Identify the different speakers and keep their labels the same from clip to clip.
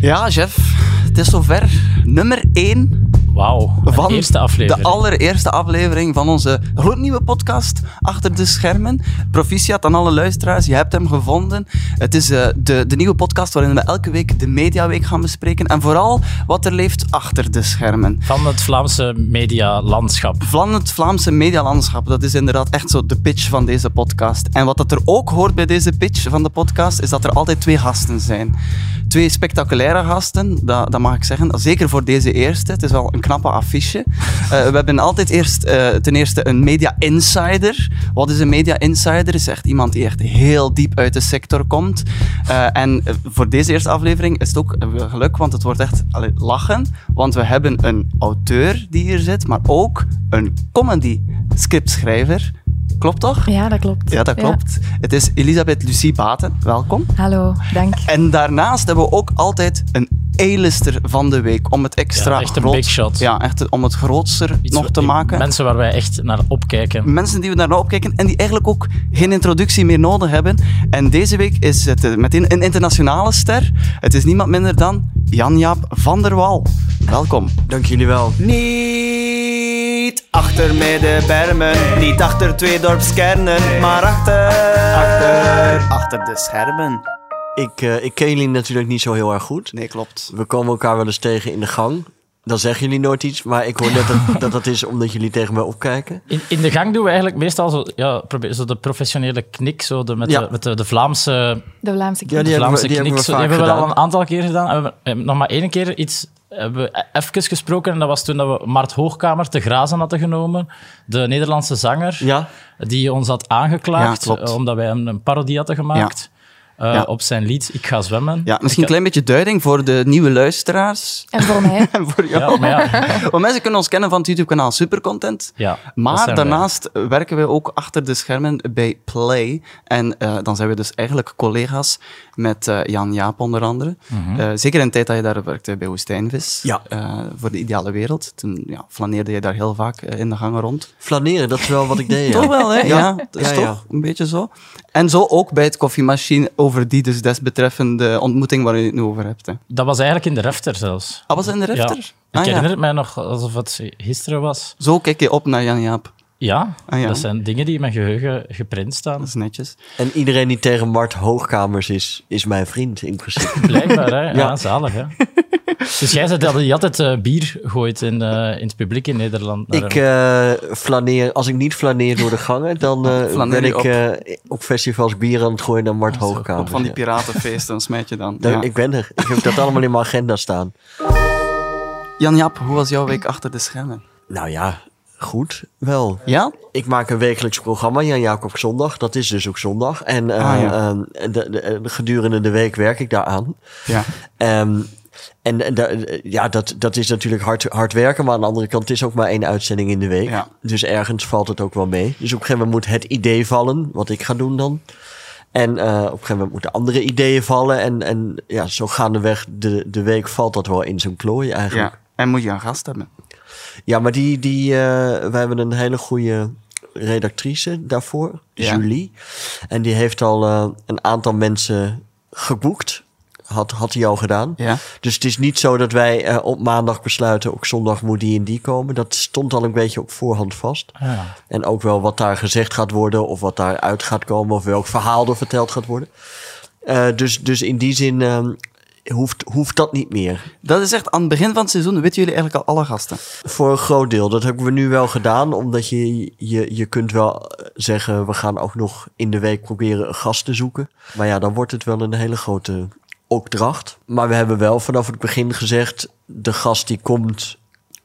Speaker 1: Ja, chef. Het is zover. Nummer 1
Speaker 2: Wauw, een
Speaker 1: van
Speaker 2: eerste aflevering.
Speaker 1: de allereerste aflevering van onze gloednieuwe podcast Achter de Schermen. Proficiat aan alle luisteraars, je hebt hem gevonden. Het is eh, de, de nieuwe podcast waarin we elke week de Mediaweek gaan bespreken. En vooral wat er leeft achter de schermen.
Speaker 2: Van het Vlaamse medialandschap.
Speaker 1: Van het Vlaamse medialandschap, dat is inderdaad echt zo de pitch van deze podcast. En wat dat er ook hoort bij deze pitch van de podcast, is dat er altijd twee gasten zijn. Twee spectaculaire gasten, dat, dat mag ik zeggen. Zeker voor deze eerste. Het is wel een knappe affiche. Eh, we hebben altijd eerst, eh, ten eerste een media insider. Wat is een media insider? Is echt iemand die echt heel diep uit de sector komt. Eh, en eh, voor deze eerste aflevering is het ook eh, geluk, want het wordt echt allee, lachen. Want we hebben een auteur die hier zit, maar ook een comedy scriptschrijver. Klopt toch?
Speaker 3: Ja, dat klopt.
Speaker 1: Ja, dat klopt. Het is Elisabeth Lucie Baten. Welkom.
Speaker 3: Hallo, dank.
Speaker 1: En daarnaast hebben we ook altijd een A-lister van de week. Om het extra
Speaker 2: Ja, echt een
Speaker 1: groot-
Speaker 2: big shot.
Speaker 1: Ja, echt om het grootster
Speaker 2: Iets
Speaker 1: nog te
Speaker 2: wa-
Speaker 1: maken. Mm.
Speaker 2: Mensen waar wij echt naar opkijken.
Speaker 1: Mensen die we naar opkijken en die eigenlijk ook geen introductie meer nodig hebben. En deze week is het eh, meteen een internationale ster. Het is niemand minder dan Jan-Jaap van der Wal. Welkom.
Speaker 4: Dank jullie wel.
Speaker 5: Niet achter middenbermen, niet achter twee dorpskernen, maar achter, achter, achter de schermen.
Speaker 4: Ik, eh, ik ken jullie natuurlijk niet zo heel erg goed.
Speaker 1: Nee, klopt.
Speaker 4: We komen elkaar wel eens tegen in de gang. Dan zeggen jullie nooit iets, maar ik hoor net dat dat, dat is omdat jullie tegen mij opkijken.
Speaker 2: In, in de gang doen we eigenlijk meestal zo, ja, probeer, zo de professionele knik, zo de, met,
Speaker 4: Ja.
Speaker 2: de, met de, de Vlaamse,
Speaker 3: De Vlaamse
Speaker 4: Ja, die
Speaker 2: de
Speaker 4: hebben
Speaker 2: Vlaamse
Speaker 4: we- die
Speaker 2: knik.
Speaker 4: hebben we
Speaker 2: zo,
Speaker 4: vaak
Speaker 2: die hebben we al
Speaker 4: gedaan.
Speaker 2: een aantal keer gedaan. En We hebben- we hebben nog maar één keer iets hebben we e- even gesproken. En dat was toen dat we Mart Hoogkamer te grazen hadden genomen. De Nederlandse zanger.
Speaker 4: Ja,
Speaker 2: die ons had aangeklaagd
Speaker 1: Ja, klopt.
Speaker 2: eh, omdat wij hem een parodie hadden gemaakt eh,
Speaker 1: Ja.
Speaker 2: op zijn lied Ik ga zwemmen.
Speaker 1: Ja, misschien een klein beetje duiding voor de nieuwe luisteraars.
Speaker 3: En voor mij.
Speaker 1: En voor jou.
Speaker 2: Ja, maar ja,
Speaker 1: Want mensen kunnen ons kennen van het YouTube-kanaal Supercontent.
Speaker 2: ja, dat
Speaker 1: Maar
Speaker 2: zijn wij.
Speaker 1: daarnaast werken we ook achter de schermen bij Play. En eh, dan zijn we dus eigenlijk collega's met eh, Jan Jaap onder andere.
Speaker 2: Mhm.
Speaker 1: Eh, zeker in de tijd dat je daar werkte bij Woestijnvis.
Speaker 4: Ja.
Speaker 1: eh, voor de ideale wereld. Toen ja, flaneerde je daar heel vaak eh, in de gangen rond.
Speaker 4: flaneren, dat is wel wat ik deed. ja.
Speaker 1: Toch wel, hè? Ja, dat is
Speaker 4: Ja,
Speaker 1: toch
Speaker 4: ja.
Speaker 1: een beetje zo. En zo ook bij het koffiemachine over die dus desbetreffende ontmoeting waar je het nu over hebt. Hè.
Speaker 2: Dat was eigenlijk in de refter zelfs.
Speaker 1: Ah, was dat in de refter?
Speaker 2: Ja. Ik
Speaker 1: Ah, ja.
Speaker 2: herinner het mij nog alsof het gisteren was.
Speaker 1: Zo kijk je op naar Jan Jaap.
Speaker 2: Ja,
Speaker 1: Ah, ja.
Speaker 2: dat zijn dingen die in mijn geheugen geprint staan.
Speaker 1: Dat is netjes.
Speaker 4: En iedereen die tegen Mart Hoogkamers is, is mijn vriend in principe.
Speaker 2: Blijkbaar, hè? Ja, zalig, hè? Dus jij zei dat je altijd eh, bier gooit in, eh, in het publiek in Nederland.
Speaker 1: Nou,
Speaker 2: naar
Speaker 4: Ik
Speaker 2: hem.
Speaker 4: eh, flaneer, als ik niet flaneer door de gangen, dan eh,
Speaker 1: Flaneer je
Speaker 4: ben ik
Speaker 1: op.
Speaker 4: op. op festivals bier aan het gooien naar Mart
Speaker 1: Op
Speaker 4: Hoogkamers.
Speaker 1: van die
Speaker 4: ja.
Speaker 1: piratenfeesten, dan smijt je dan.
Speaker 4: Daar-
Speaker 1: Ja.
Speaker 4: Ik ben er. Ik heb dat allemaal in mijn agenda staan.
Speaker 1: Jan-Jaap, hoe was jouw week achter de schermen?
Speaker 4: Nou ja, goed wel.
Speaker 1: Ja?
Speaker 4: Ik maak een wekelijks programma, Jan Jacob Zondag. Dat is dus ook zondag. En eh,
Speaker 1: Ah, ja.
Speaker 4: eh, de- de- de- gedurende de week werk ik daaraan.
Speaker 1: Ja.
Speaker 4: Ehm, en en da- ja, dat, dat is natuurlijk hard, hard werken. Maar aan de andere kant, het is ook maar één uitzending in de week.
Speaker 1: Ja.
Speaker 4: Dus ergens valt het ook wel mee. Dus op een gegeven moment moet het idee vallen, wat ik ga doen dan. En eh, op een gegeven moment moeten andere ideeën vallen. En, en ja, zo gaandeweg de, de week valt dat wel in zo'n klooi eigenlijk.
Speaker 1: ja. En moet je een gast hebben?
Speaker 4: Ja, maar die, die, eh, wij hebben een hele goede redactrice daarvoor,
Speaker 1: Ja.
Speaker 4: Julie. En die heeft al eh, een aantal mensen geboekt. Had, had die al gedaan.
Speaker 1: Ja.
Speaker 4: Dus het is niet zo dat wij eh, op maandag besluiten, ook zondag moet die en die komen. Dat stond al een beetje op voorhand vast.
Speaker 2: Ja.
Speaker 4: En ook wel wat daar gezegd gaat worden, of wat daaruit gaat komen, of welk verhaal er verteld gaat worden. Eh, dus, dus in die zin ehm, hoeft, hoeft dat niet meer.
Speaker 1: Dat is echt aan het begin van het seizoen, weten jullie eigenlijk al alle gasten.
Speaker 4: Voor een groot deel. Dat hebben we nu wel gedaan, omdat je, je, je kunt wel eh, zeggen... we gaan ook nog in de week proberen een gast te zoeken. Maar ja, dan wordt het wel een hele grote opdracht. Maar we hebben wel vanaf het begin gezegd... de gast die komt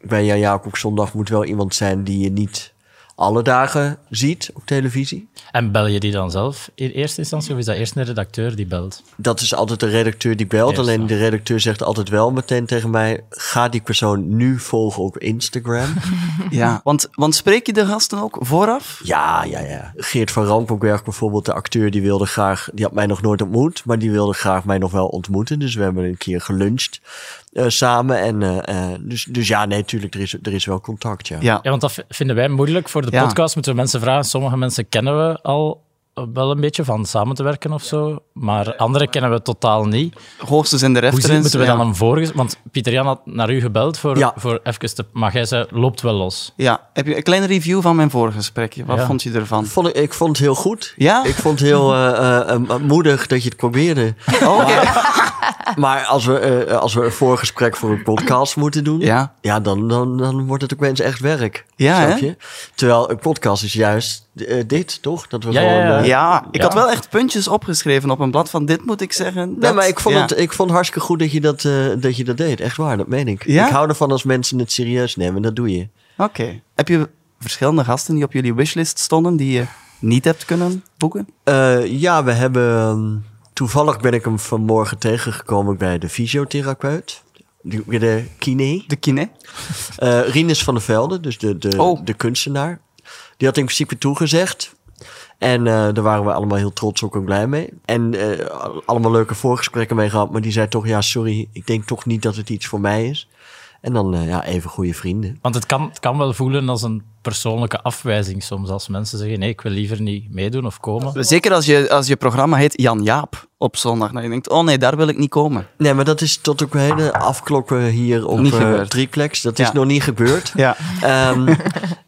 Speaker 4: bij Jan Jacob Zondag moet wel iemand zijn... die je niet alle dagen ziet op televisie.
Speaker 1: eh,
Speaker 2: En bel je die dan zelf in eerste instantie of is dat eerst een redacteur die belt?
Speaker 4: Dat is altijd de redacteur die belt.
Speaker 2: Eerst,
Speaker 4: Alleen de redacteur zegt altijd wel meteen tegen mij... ga die persoon nu volgen op Instagram...
Speaker 1: Ja. Want, want spreek je de gasten ook vooraf?
Speaker 4: Ja, ja, ja. Geert van Rampenberg bijvoorbeeld, de acteur, die wilde graag... Die had mij nog nooit ontmoet, maar die wilde graag mij nog wel ontmoeten. Dus we hebben een keer geluncht eh, samen. En, eh, eh, dus, dus ja, nee, tuurlijk, er is, er is wel contact, ja.
Speaker 1: Ja.
Speaker 2: Ja, want dat v- vinden wij moeilijk voor de
Speaker 1: Ja.
Speaker 2: podcast. Moeten we mensen vragen. Sommige mensen kennen we al wel een beetje van samen te werken of zo. Maar anderen kennen we totaal niet.
Speaker 1: Hoogstens in de
Speaker 2: Hoe
Speaker 1: reference.
Speaker 2: zit, moeten we
Speaker 1: ja.
Speaker 2: dan een vorige... Want Pieter Jan had naar u gebeld voor,
Speaker 4: Ja.
Speaker 2: voor even te... Maar jij zei, loopt wel los.
Speaker 1: Ja, heb je een kleine review van mijn vorige gesprekje? Wat
Speaker 2: Ja.
Speaker 1: vond je ervan?
Speaker 4: Vond ik, ik vond het heel goed.
Speaker 1: Ja?
Speaker 4: Ik vond het heel eh, eh, eh, moedig dat je het probeerde.
Speaker 1: Oh, oké.
Speaker 4: Maar als we, eh, als we een voorgesprek voor een podcast moeten doen,
Speaker 1: Ja.
Speaker 4: ja dan, dan, dan wordt het ook eens echt werk.
Speaker 1: Ja,
Speaker 4: snap
Speaker 1: hè?
Speaker 4: je? Terwijl een podcast is juist eh, dit, toch? Dat we
Speaker 2: Ja, ja,
Speaker 4: gewoon,
Speaker 2: ja.
Speaker 4: eh,
Speaker 1: Ja, ik
Speaker 2: Ja.
Speaker 1: had wel echt puntjes opgeschreven op een blad van dit moet ik zeggen.
Speaker 4: Nee,
Speaker 1: dat-
Speaker 4: maar ik vond,
Speaker 1: ja.
Speaker 4: het, ik vond het hartstikke goed dat je dat, eh, dat je dat deed. Echt waar, dat meen ik.
Speaker 1: Ja?
Speaker 4: Ik hou ervan als mensen het serieus nemen, dat doe je.
Speaker 1: Oké. Heb je verschillende gasten die op jullie wishlist stonden die je niet hebt kunnen boeken?
Speaker 4: Eh, ja, we hebben... ehm, Toevallig ben ik hem vanmorgen tegengekomen bij de fysiotherapeut. Die- Bij de kine.
Speaker 1: De kine?
Speaker 4: Eh Rinus van der Velde, dus de, de,
Speaker 1: Oh.
Speaker 4: de kunstenaar. Die had in principe toegezegd. En eh, daar waren we allemaal heel trots ook en blij mee. En eh, al- allemaal leuke voorgesprekken mee gehad. Maar die zei toch, ja, sorry, ik denk toch niet dat het iets voor mij is. En dan, eh, ja, even goede vrienden.
Speaker 2: Want het kan, het kan wel voelen als een persoonlijke afwijzing soms. Als mensen zeggen, nee, ik wil liever niet meedoen of komen.
Speaker 1: Zeker als je, als je programma heet Jan Jaap op zondag. Dan denk je, oh nee, daar wil ik niet komen.
Speaker 4: Nee, maar dat is tot ook hele afklokken hier op
Speaker 1: Niet
Speaker 4: eh
Speaker 1: gebeurd.
Speaker 4: Triplex. Dat is
Speaker 1: Ja.
Speaker 4: nog niet gebeurd.
Speaker 1: Ja.
Speaker 4: Ehm,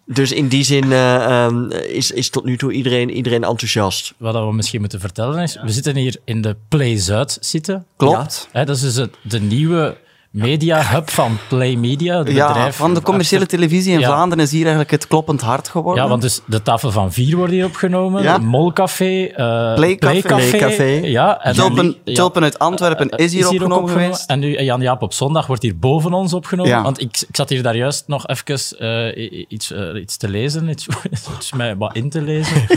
Speaker 4: dus in die zin eh, ehm, is, is tot nu toe iedereen, iedereen enthousiast.
Speaker 2: Wat dat we misschien moeten vertellen is, we zitten hier in de Play Zuid zitten.
Speaker 1: Klopt.
Speaker 2: Hè, dat is dus het- de nieuwe media hub van Play Media. Het
Speaker 1: Ja,
Speaker 2: bedrijf
Speaker 1: van de commerciële
Speaker 2: achter-
Speaker 1: televisie in
Speaker 2: Ja.
Speaker 1: Vlaanderen is hier eigenlijk het kloppend hart geworden.
Speaker 2: Ja, want dus de tafel van vier wordt hier opgenomen.
Speaker 1: Ja.
Speaker 2: Molcafé, eh,
Speaker 1: Playcafé.
Speaker 4: Playcafé.
Speaker 2: Ja, en
Speaker 1: Tulpen,
Speaker 2: ja, Eh,
Speaker 1: Tulpen uit Antwerpen is hier
Speaker 2: ook
Speaker 1: opgenomen geweest.
Speaker 2: En nu eh, Jan Jaap op zondag wordt hier boven ons opgenomen.
Speaker 1: Ja.
Speaker 2: Want ik, ik zat hier daar juist nog even eh, i- i- iets, eh, iets te lezen, iets, iets mij wat in te lezen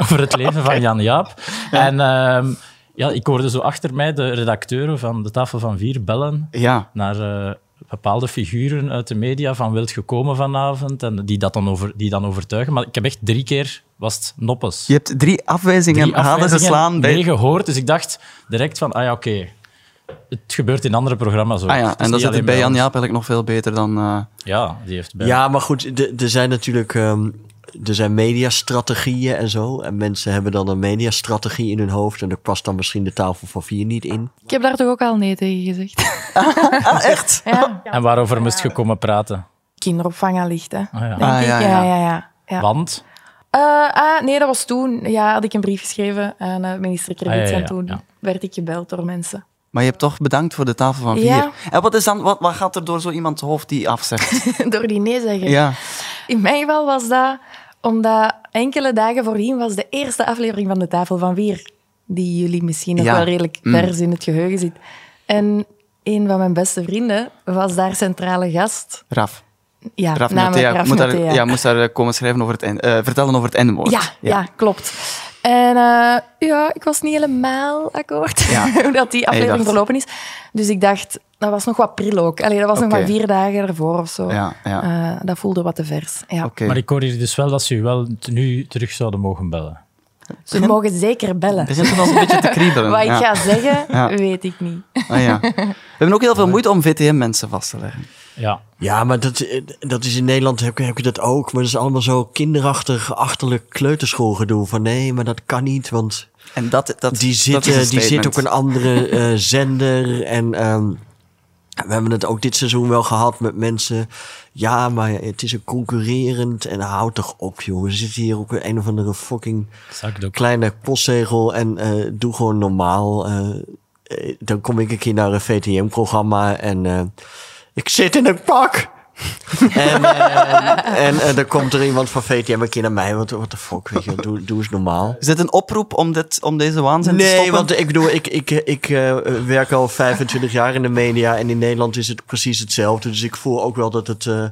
Speaker 2: over het leven van Jan Jaap. En ehm, ja, ik hoorde zo achter mij de redacteuren van de tafel van vier bellen
Speaker 1: Ja.
Speaker 2: naar eh, bepaalde figuren uit de media van wilt gekomen vanavond en die dat dan, over, die dan overtuigen. Maar ik heb echt drie keer was het noppes.
Speaker 1: Je hebt drie afwijzingen,
Speaker 2: Drie
Speaker 1: halen
Speaker 2: afwijzingen,
Speaker 1: geslaan bij...
Speaker 2: nee gehoord, dus ik dacht direct van, ah ja, oké. Het gebeurt in andere programma's ook.
Speaker 1: Ah
Speaker 2: Het
Speaker 1: ja,
Speaker 2: is
Speaker 1: en
Speaker 2: niet
Speaker 1: dan zit het
Speaker 2: alleen
Speaker 1: bij Jan
Speaker 2: ons.
Speaker 1: Jaap eigenlijk nog veel beter dan... eh,
Speaker 2: Ja, die heeft bij...
Speaker 4: Ja, maar goed, de- er zijn natuurlijk ehm, er zijn mediastrategieën en zo. En mensen hebben dan een mediastrategie in hun hoofd. En daar past dan misschien de tafel van vier niet in.
Speaker 3: Ik heb daar toch ook al nee tegen gezegd.
Speaker 1: Ah, echt?
Speaker 3: Ja.
Speaker 2: En waarover moest je komen praten?
Speaker 3: Kinderopvang allicht, hè.
Speaker 2: Ah ja.
Speaker 3: Denk
Speaker 1: Ah,
Speaker 3: ik.
Speaker 1: ja,
Speaker 3: ja,
Speaker 1: ja.
Speaker 3: ja, ja. ja,
Speaker 2: Want?
Speaker 3: Eh, ah, nee, dat was toen. Ja, had ik een brief geschreven aan eh, minister Krediet.
Speaker 2: Ah, ja, ja,
Speaker 3: En toen
Speaker 2: ja.
Speaker 3: werd ik gebeld door mensen.
Speaker 1: Maar je hebt toch bedankt voor de tafel van vier.
Speaker 3: Ja.
Speaker 1: En wat, is dan, wat, wat gaat er door zo iemands hoofd die afzegt?
Speaker 3: door die nee zeggen.
Speaker 1: ja.
Speaker 3: In mijn geval was dat omdat enkele dagen voordien was de eerste aflevering van de Tafel van Vier. Die jullie misschien nog
Speaker 1: Ja. Mm.
Speaker 3: wel redelijk vers in het geheugen zit. En een van mijn beste vrienden was daar centrale gast.
Speaker 1: Raf.
Speaker 3: Ja,
Speaker 1: Raf
Speaker 3: namelijk
Speaker 1: Natea
Speaker 3: Raf
Speaker 1: moet daar,
Speaker 3: Natea.
Speaker 1: ja, moest daar eh, komen schrijven over het N- eh, vertellen over het N-woord.
Speaker 3: Ja, ja. klopt. En eh, ja, ik was niet helemaal akkoord
Speaker 1: Ja.
Speaker 3: hoe dat die aflevering
Speaker 1: dacht-
Speaker 3: verlopen is. Dus ik dacht, dat was nog wat pril ook. Allee, dat was nog
Speaker 1: Oké.
Speaker 3: maar vier dagen ervoor of zo.
Speaker 1: Ja, ja.
Speaker 3: Eh, dat voelde wat te vers. Ja.
Speaker 1: Oké.
Speaker 2: Maar ik hoor hier dus wel dat ze u wel t- nu terug zouden mogen bellen.
Speaker 3: Ze mogen zeker bellen.
Speaker 1: Begint het al een beetje te kriebelen.
Speaker 3: Wat ik
Speaker 1: ja.
Speaker 3: ga zeggen,
Speaker 1: Ja.
Speaker 3: weet ik niet.
Speaker 1: Ah, ja. We hebben ook heel veel moeite om VTM-mensen vast te leggen.
Speaker 2: Ja.
Speaker 4: Ja, maar dat, eh, dat is in Nederland heb, heb je dat ook. Maar dat is allemaal zo kinderachtig, achterlijk kleuterschoolgedoe. Van nee, maar dat kan niet, want
Speaker 1: En dat, dat,
Speaker 4: die
Speaker 1: dat
Speaker 4: zit,
Speaker 1: is een
Speaker 4: eh, die zit
Speaker 1: statement.
Speaker 4: op een andere eh, zender. En ehm, we hebben het ook dit seizoen wel gehad met mensen. Ja, maar het is een concurrerend. En houd toch op, joh. We zitten hier ook een of andere fucking
Speaker 2: Zakdoek.
Speaker 4: kleine postzegel. En eh, doe gewoon normaal. Eh, eh, dan kom ik een keer naar een VTM-programma en eh, ik zit in een pak. en eh, en eh, dan komt er iemand van VTM een keer naar mij. Wat de fuck, weet je, wel. doe, doe eens normaal.
Speaker 1: Is dit een oproep om, dit, om deze waanzin te
Speaker 4: Nee,
Speaker 1: stoppen?
Speaker 4: want ik bedoel, ik, ik, ik eh, werk al 25 jaar in de media en in Nederland is het precies hetzelfde. Dus ik voel ook wel dat het, eh,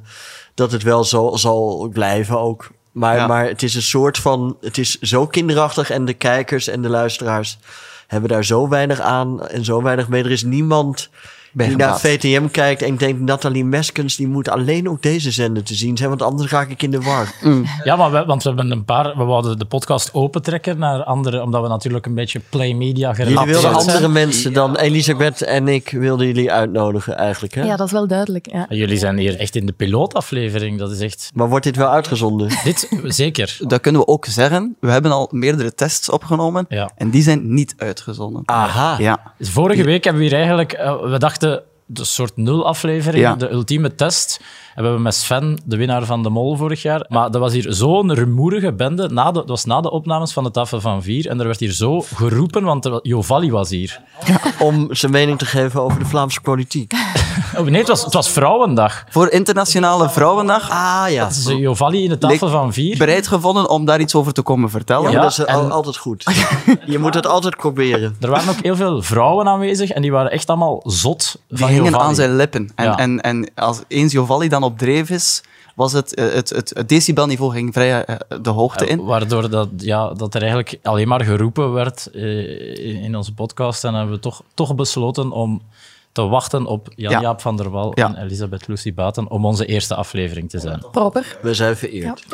Speaker 4: dat het wel zal, zal blijven ook. Maar,
Speaker 1: Ja.
Speaker 4: maar het is een soort van, het is zo kinderachtig en de kijkers en de luisteraars hebben daar zo weinig aan en zo weinig mee. Er is niemand
Speaker 1: Bij
Speaker 4: die
Speaker 1: gebaat.
Speaker 4: naar VTM kijkt en denkt... Nathalie Meskens, die moet alleen op deze zender te zien zijn... want anders raak ik in de war.
Speaker 1: Mm.
Speaker 2: Ja, maar we, want we hebben een paar... We wilden de podcast opentrekken naar andere... Omdat we natuurlijk een beetje play media
Speaker 4: Jullie
Speaker 2: gerelateerd
Speaker 4: wilden
Speaker 2: zijn.
Speaker 4: andere mensen dan Elisabeth en ik... wilden jullie uitnodigen eigenlijk, hè?
Speaker 3: Ja, dat is wel duidelijk. Ja.
Speaker 2: Jullie zijn hier echt in de pilootaflevering. Dat is echt...
Speaker 4: Maar wordt dit wel uitgezonden?
Speaker 2: Dit, zeker.
Speaker 1: Dat kunnen we ook zeggen. We hebben al meerdere tests opgenomen
Speaker 2: Ja.
Speaker 1: en die zijn niet uitgezonden.
Speaker 4: Aha.
Speaker 1: Ja.
Speaker 2: Dus vorige week hebben we hier eigenlijk, eh, we dachten, de soort nul aflevering,
Speaker 1: Ja.
Speaker 2: de ultieme test. En we hebben met Sven, de winnaar van de Mol vorig jaar. Maar dat was hier zo'n rumoerige bende. Na de, dat was na de opnames van de tafel van vier. En er werd hier zo geroepen, want er wa- Jovalli was hier.
Speaker 4: Om zijn mening te geven over de Vlaamse politiek.
Speaker 2: Oh, nee, het was, het was Vrouwendag.
Speaker 1: Voor Internationale Vrouwendag
Speaker 4: Ah ja.
Speaker 2: Dus eh, Jovalli in de tafel
Speaker 1: Leek-
Speaker 2: van vier.
Speaker 1: bereid gevonden om daar iets over te komen vertellen.
Speaker 4: Ja, maar dat is
Speaker 2: Ja,
Speaker 4: al-
Speaker 2: en-
Speaker 4: altijd goed. Je moet het altijd proberen.
Speaker 2: Er waren ook heel veel vrouwen aanwezig en die waren echt allemaal zot
Speaker 1: Die
Speaker 2: van
Speaker 1: hingen
Speaker 2: Jovalli.
Speaker 1: aan zijn lippen. En,
Speaker 2: Ja.
Speaker 1: en, en als eens Jovalli dan op dreef is, was het, eh, het, het, het decibelniveau ging vrij eh, de hoogte in.
Speaker 2: Waardoor dat, ja, dat er eigenlijk alleen maar geroepen werd eh, in, in onze podcast. En hebben we toch, toch besloten om te wachten op
Speaker 1: Ja.
Speaker 2: Jan-Jaap van der Wal
Speaker 1: Ja.
Speaker 2: en Elisabeth Lucie Baten om onze eerste aflevering te zijn.
Speaker 3: Proper,
Speaker 4: We zijn vereerd.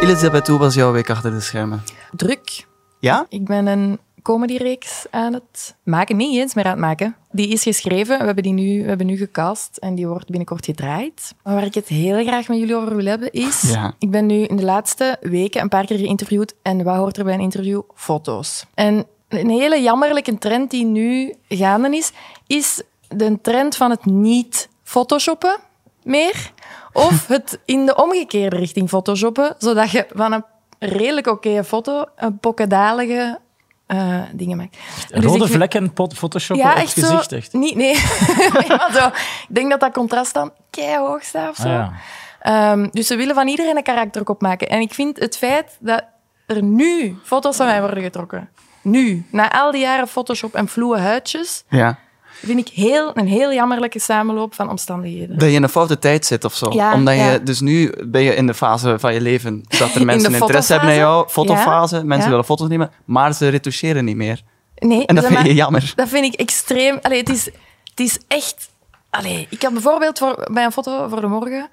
Speaker 1: Elisabeth, hoe was jouw week achter de schermen?
Speaker 3: druk.
Speaker 1: Ja?
Speaker 3: Ik ben een comedyreeks aan het maken. Niet eens meer aan het maken. Die is geschreven. We hebben die nu, we hebben nu gecast en die wordt binnenkort gedraaid. Maar waar ik het heel graag met jullie over wil hebben is...
Speaker 1: Ja.
Speaker 3: Ik ben nu in de laatste weken een paar keer geïnterviewd. En wat hoort er bij een interview? Foto's. En een hele jammerlijke trend die nu gaande is, is de trend van het niet photoshoppen meer. Of het in de omgekeerde richting photoshoppen, zodat je van een redelijk oké foto een pokkendalige eh, dingen maakt. Dus ik
Speaker 2: Rode
Speaker 3: vind-
Speaker 2: vlekken, pot, Photoshop, eh, op het
Speaker 3: zo.
Speaker 2: gezicht echt.
Speaker 3: Niet, nee. nee maar zo. Ik denk dat dat contrast dan keihoog staat of zo.
Speaker 2: Ah, ja.
Speaker 3: Ehm, dus ze willen van iedereen een karakterkop maken. En ik vind het feit dat er nu foto's van mij worden getrokken. Nu. Na al die jaren Photoshop en vloe huidjes.
Speaker 1: Ja.
Speaker 3: Vind ik heel, een heel jammerlijke samenloop van omstandigheden.
Speaker 1: Dat je in een foute tijd zit of zo.
Speaker 3: Ja,
Speaker 1: Omdat
Speaker 3: ja.
Speaker 1: je, dus nu ben je in de fase van je leven dat er mensen
Speaker 3: de
Speaker 1: interesse hebben naar jou.
Speaker 3: fotofase? Ja.
Speaker 1: Fotofase, mensen
Speaker 3: Ja,
Speaker 1: willen foto's nemen, maar ze retoucheren niet meer.
Speaker 3: Nee,
Speaker 1: En dat
Speaker 3: ze
Speaker 1: vind je
Speaker 3: ma-
Speaker 1: jammer.
Speaker 3: Dat vind ik extreem. Allee, het, is, het is echt. Allee, ik had bijvoorbeeld voor, bij een foto voor de morgen.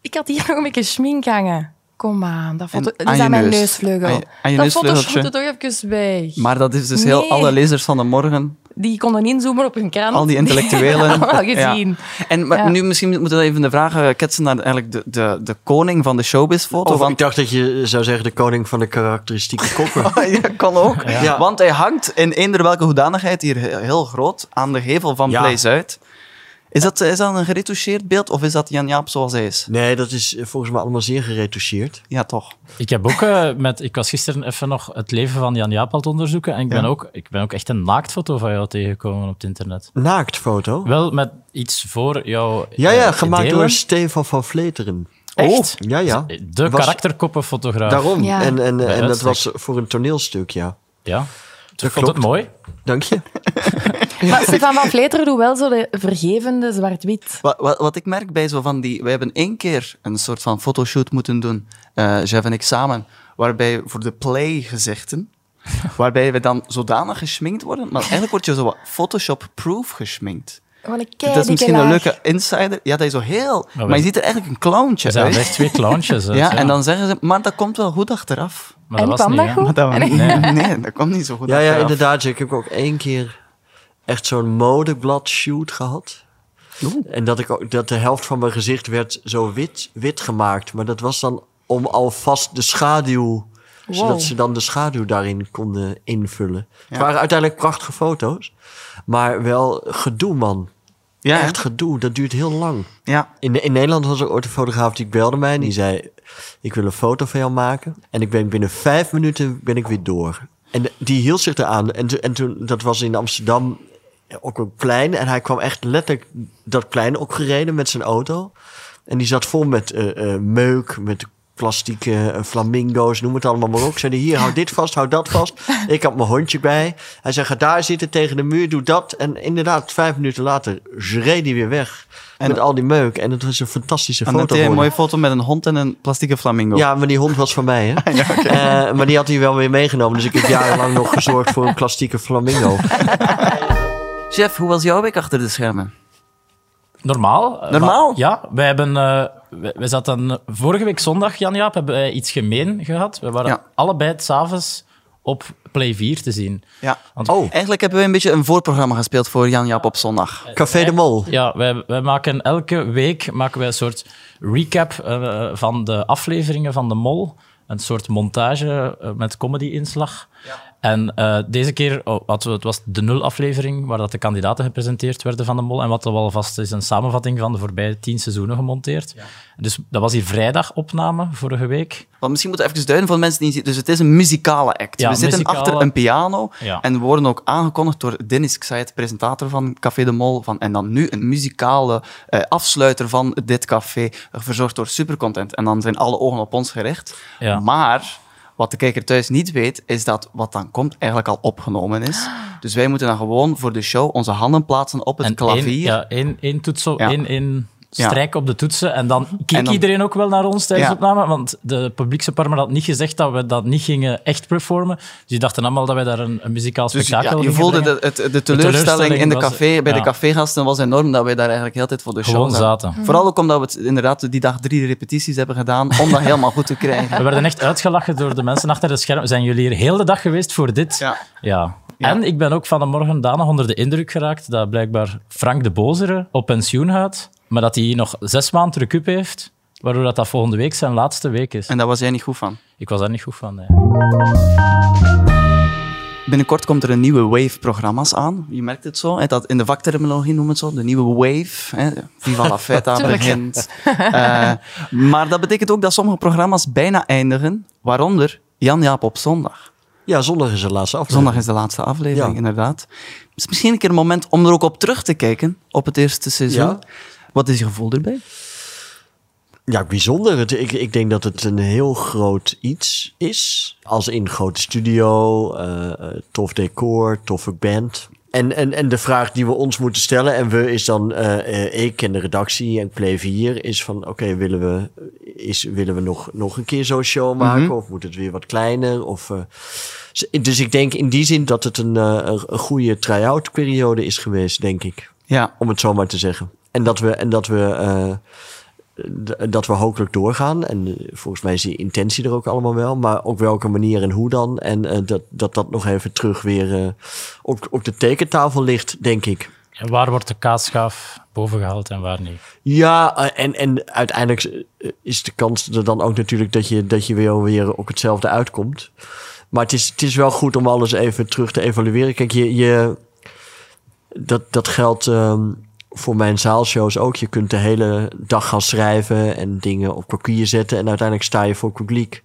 Speaker 3: Ik had hier nog een beetje schmink hangen. Kom aan, dat foto.
Speaker 1: En
Speaker 3: Dat
Speaker 1: aan
Speaker 3: is
Speaker 1: je
Speaker 3: aan mijn
Speaker 1: neus.
Speaker 3: neusvleugel.
Speaker 1: Aan je- aan je
Speaker 3: dat
Speaker 1: neusvleugeltje.
Speaker 3: foto schoot toch even weg.
Speaker 1: Maar dat is dus
Speaker 3: Nee.
Speaker 1: heel alle lezers van de morgen,
Speaker 3: Die konden inzoomen op hun krant.
Speaker 1: al die intellectuelen.
Speaker 3: Die hadden we
Speaker 1: Ja.
Speaker 3: allemaal gezien.
Speaker 1: En maar
Speaker 3: Ja.
Speaker 1: nu misschien moeten we even de vraag eh, ketsen naar eigenlijk de, de, de koning van de showbiz-foto.
Speaker 4: Of ik
Speaker 1: Want
Speaker 4: dacht dat je zou zeggen de koning van de karakteristieke koppen.
Speaker 1: Ah, ja, kan ook.
Speaker 4: Ja.
Speaker 1: Want hij hangt in eender welke hoedanigheid hier he- heel groot aan de gevel van
Speaker 4: Ja.
Speaker 1: Play Zuid. Is dat, is dat een geretoucheerd beeld of is dat Jan Jaap zoals hij is?
Speaker 4: Nee, dat is eh, volgens mij allemaal zeer geretoucheerd.
Speaker 1: Ja, toch.
Speaker 2: Ik heb ook eh, met, ik was gisteren even nog het leven van Jan Jaap aan het onderzoeken. En ik ben,
Speaker 1: Ja.
Speaker 2: ook, ik ben ook echt een naaktfoto van jou tegengekomen op het internet.
Speaker 4: Naaktfoto.
Speaker 2: Wel met iets voor jou.
Speaker 4: Ja, ja,
Speaker 2: eh,
Speaker 4: gemaakt
Speaker 2: delen.
Speaker 4: door Stefan van Vleteren. Oh,
Speaker 2: Echt?
Speaker 4: Ja, ja.
Speaker 2: De
Speaker 4: Was-
Speaker 2: karakterkoppenfotograaf.
Speaker 4: Daarom.
Speaker 3: Ja.
Speaker 4: En, en,
Speaker 2: Bij
Speaker 4: eh, en dat
Speaker 2: uitstek.
Speaker 4: was voor een toneelstuk, ja.
Speaker 2: Ja. Ik vond
Speaker 4: klopt.
Speaker 2: het mooi.
Speaker 4: Dank je.
Speaker 3: Maar Stefan van Vleteren doet wel zo de vergevende zwart-wit.
Speaker 1: Wat, wat, wat ik merk bij zo van die... Wij hebben één keer een soort van fotoshoot moeten doen, eh Jeff en ik samen, waarbij voor de Play-gezichten, waarbij we dan zodanig geschminkt worden, maar eigenlijk word je zo wat Photoshop-proof geschminkt.
Speaker 3: Wat een
Speaker 1: Dat is
Speaker 3: keidikke
Speaker 1: misschien een
Speaker 3: laag.
Speaker 1: leuke insider. Ja, dat is zo heel...
Speaker 2: wij-
Speaker 1: Maar, je ziet er eigenlijk een clowntje
Speaker 2: Er zijn
Speaker 1: uit.
Speaker 2: echt twee clownsjes. hè.
Speaker 1: Ja, en dan zeggen ze, maar dat komt wel goed achteraf.
Speaker 2: Maar
Speaker 3: En
Speaker 2: was
Speaker 3: kwam
Speaker 2: niet,
Speaker 3: dat
Speaker 2: hè.
Speaker 4: Ah,
Speaker 3: goed?
Speaker 1: Dat we- nee. nee, dat eh, komt niet zo goed
Speaker 4: Ja, ja,
Speaker 1: achteraf.
Speaker 4: inderdaad. Ik heb ook één keer echt zo'n modeblad shoot gehad. En dat, ik ook, dat de helft van mijn gezicht werd zo wit, wit gemaakt. Maar dat was dan om alvast de schaduw... Zodat
Speaker 3: Wow.
Speaker 4: ze dan de schaduw daarin konden invullen. Het waren uiteindelijk prachtige foto's. Maar wel gedoe, man.
Speaker 1: Ja,
Speaker 4: Echt
Speaker 1: echt.
Speaker 4: gedoe. Dat duurt heel lang.
Speaker 1: Ja.
Speaker 4: In, in Nederland was er ooit een fotograaf die belde mij. En die zei, ik wil een foto van jou maken. En ik ben binnen vijf minuten ben ik weer door. En de- die hield zich eraan. En, to- en toen, dat was in Amsterdam ook een plein. En hij kwam echt letterlijk dat plein opgereden met zijn auto. En die zat vol met eh, eh, meuk, met plastieke eh, flamingo's, noem het allemaal maar op. Ik zei, hier, hou dit vast, hou dat vast. Ik had mijn hondje bij. Hij zei, ga daar zitten tegen de muur, doe dat. En inderdaad, vijf minuten later reed hij weer weg
Speaker 1: En-
Speaker 4: met al die meuk. En het was een fantastische
Speaker 1: En dan
Speaker 4: foto
Speaker 1: heb je een
Speaker 4: geworden.
Speaker 1: mooie foto met een hond en een plastieke flamingo.
Speaker 4: Ja, maar die hond was van mij, hè? Eh, maar die had hij wel weer meegenomen. Dus ik heb jarenlang nog gezorgd voor een plastieke flamingo.
Speaker 1: Jeff, hoe was jouw week achter de schermen?
Speaker 2: Normaal. eh,
Speaker 1: Normaal?
Speaker 2: maar- ja, wij hebben... eh, wij, wij zaten vorige week zondag, Jan-Jaap, hebben wij iets gemeen gehad. We waren
Speaker 1: Ja.
Speaker 2: allebei s'avonds op Play 4 te zien.
Speaker 1: Ja.
Speaker 2: Want-
Speaker 4: Oh,
Speaker 1: Eigenlijk hebben we een beetje een voorprogramma gespeeld voor Jan Jaap op zondag.
Speaker 4: Café de Mol.
Speaker 2: Ja, wij, wij maken elke week maken wij een soort recap eh, van de afleveringen van De Mol. Een soort montage eh, met comedy-inslag. En eh, deze keer oh, hadden we, het was de nul-aflevering waar dat de kandidaten gepresenteerd werden van De Mol. En wat er alvast is een samenvatting van de voorbije tien seizoenen gemonteerd. Dus dat was hier vrijdag opname vorige week.
Speaker 1: Want misschien moeten we even duiden voor de mensen die niet zien. Dus het is een muzikale act.
Speaker 2: Ja,
Speaker 1: we zitten
Speaker 2: muzikale-
Speaker 1: achter een piano
Speaker 2: Ja.
Speaker 1: en worden ook aangekondigd door Dennis Xayet, presentator van Café de Mol. Van, en dan nu een muzikale eh, afsluiter van dit café, verzorgd door Supercontent. En dan zijn alle ogen op ons gericht.
Speaker 2: Ja.
Speaker 1: Maar wat de kijker thuis niet weet, is dat wat dan komt eigenlijk al opgenomen is. Dus wij moeten dan gewoon voor de show onze handen plaatsen op het
Speaker 2: en
Speaker 1: klavier.
Speaker 2: Één, ja, één, één toets, zo-
Speaker 1: Ja.
Speaker 2: één, één
Speaker 1: Ja.
Speaker 2: strijk op de toetsen. En dan keek
Speaker 1: En dan-
Speaker 2: iedereen ook wel naar ons tijdens
Speaker 1: Ja.
Speaker 2: de opname. Want de publiekse parma had niet gezegd dat we dat niet gingen echt performen. Dus die dachten allemaal dat wij daar een, een muzikaal
Speaker 1: Dus ja,
Speaker 2: spektakel
Speaker 1: je
Speaker 2: gingen
Speaker 1: voelde
Speaker 2: brengen.
Speaker 1: de, het, de teleurstelling in de
Speaker 2: was-
Speaker 1: café, bij
Speaker 2: ja.
Speaker 1: de cafégasten was enorm dat wij daar eigenlijk heel de tijd voor de show
Speaker 2: Gewoon zaten.
Speaker 1: Mhm. Vooral ook omdat we het, inderdaad die dag drie repetities hebben gedaan om dat helemaal goed te krijgen.
Speaker 2: We werden echt uitgelachen door de mensen achter de schermen. Zijn jullie hier heel de dag geweest voor dit?
Speaker 1: Ja.
Speaker 2: Ja. En ik ben ook vanmorgen danig onder de indruk geraakt dat blijkbaar Frank de Bozere op pensioen gaat, maar dat hij nog zes maanden recup heeft, waardoor dat, dat volgende week zijn laatste week is.
Speaker 1: En daar was jij niet goed van.
Speaker 2: Ik was daar niet goed van. nee.
Speaker 1: Binnenkort komt er een nieuwe wave-programma's aan. Je merkt het zo. hè, Dat in de vakterminologie noemen we het zo. De nieuwe wave. Hè. Viva la feta
Speaker 3: Tuurlijk.
Speaker 1: begint. Eh, maar dat betekent ook dat sommige programma's bijna eindigen. Waaronder Jan-Jaap op zondag.
Speaker 4: Ja, zondag is de laatste aflevering.
Speaker 1: Zondag is de laatste aflevering,
Speaker 4: Ja.
Speaker 1: inderdaad. Het is misschien een keer een moment om er ook op terug te kijken, op het eerste seizoen.
Speaker 4: Ja.
Speaker 1: Wat is je gevoel erbij?
Speaker 4: Ja, bijzonder. Het- ik, ik denk dat het een heel groot iets is. Als in grote studio, eh, eh, tof decor, toffe band. En, en, en de vraag die we ons moeten stellen, en we is dan, eh, eh, ik en de redactie en Play 4, is van oké, willen we, is, willen we nog, nog een keer zo'n show maken? Of moet het weer wat kleiner? Of, eh, z- dus ik denk in die zin dat het een, eh, een, een goede try-out periode is geweest, denk ik
Speaker 1: Ja,
Speaker 4: om het zo maar te zeggen. En dat we, en dat we, eh, d- dat we hopelijk doorgaan. En eh, volgens mij is die intentie er ook allemaal wel. Maar op welke manier en hoe dan. En eh, dat, dat dat nog even terug weer eh, op, op de tekentafel ligt, denk ik.
Speaker 2: En waar wordt de kaasschaaf bovengehaald en waar niet?
Speaker 4: Ja, eh, en, en uiteindelijk eh, is de kans er dan ook natuurlijk dat je, dat je weer, weer op hetzelfde uitkomt. Maar het is, het is wel goed om alles even terug te evalueren. Kijk, je, je, dat, dat geldt ehm, voor mijn zaalshows ook. Je kunt de hele dag gaan schrijven en dingen op papier zetten. En uiteindelijk sta je voor het publiek.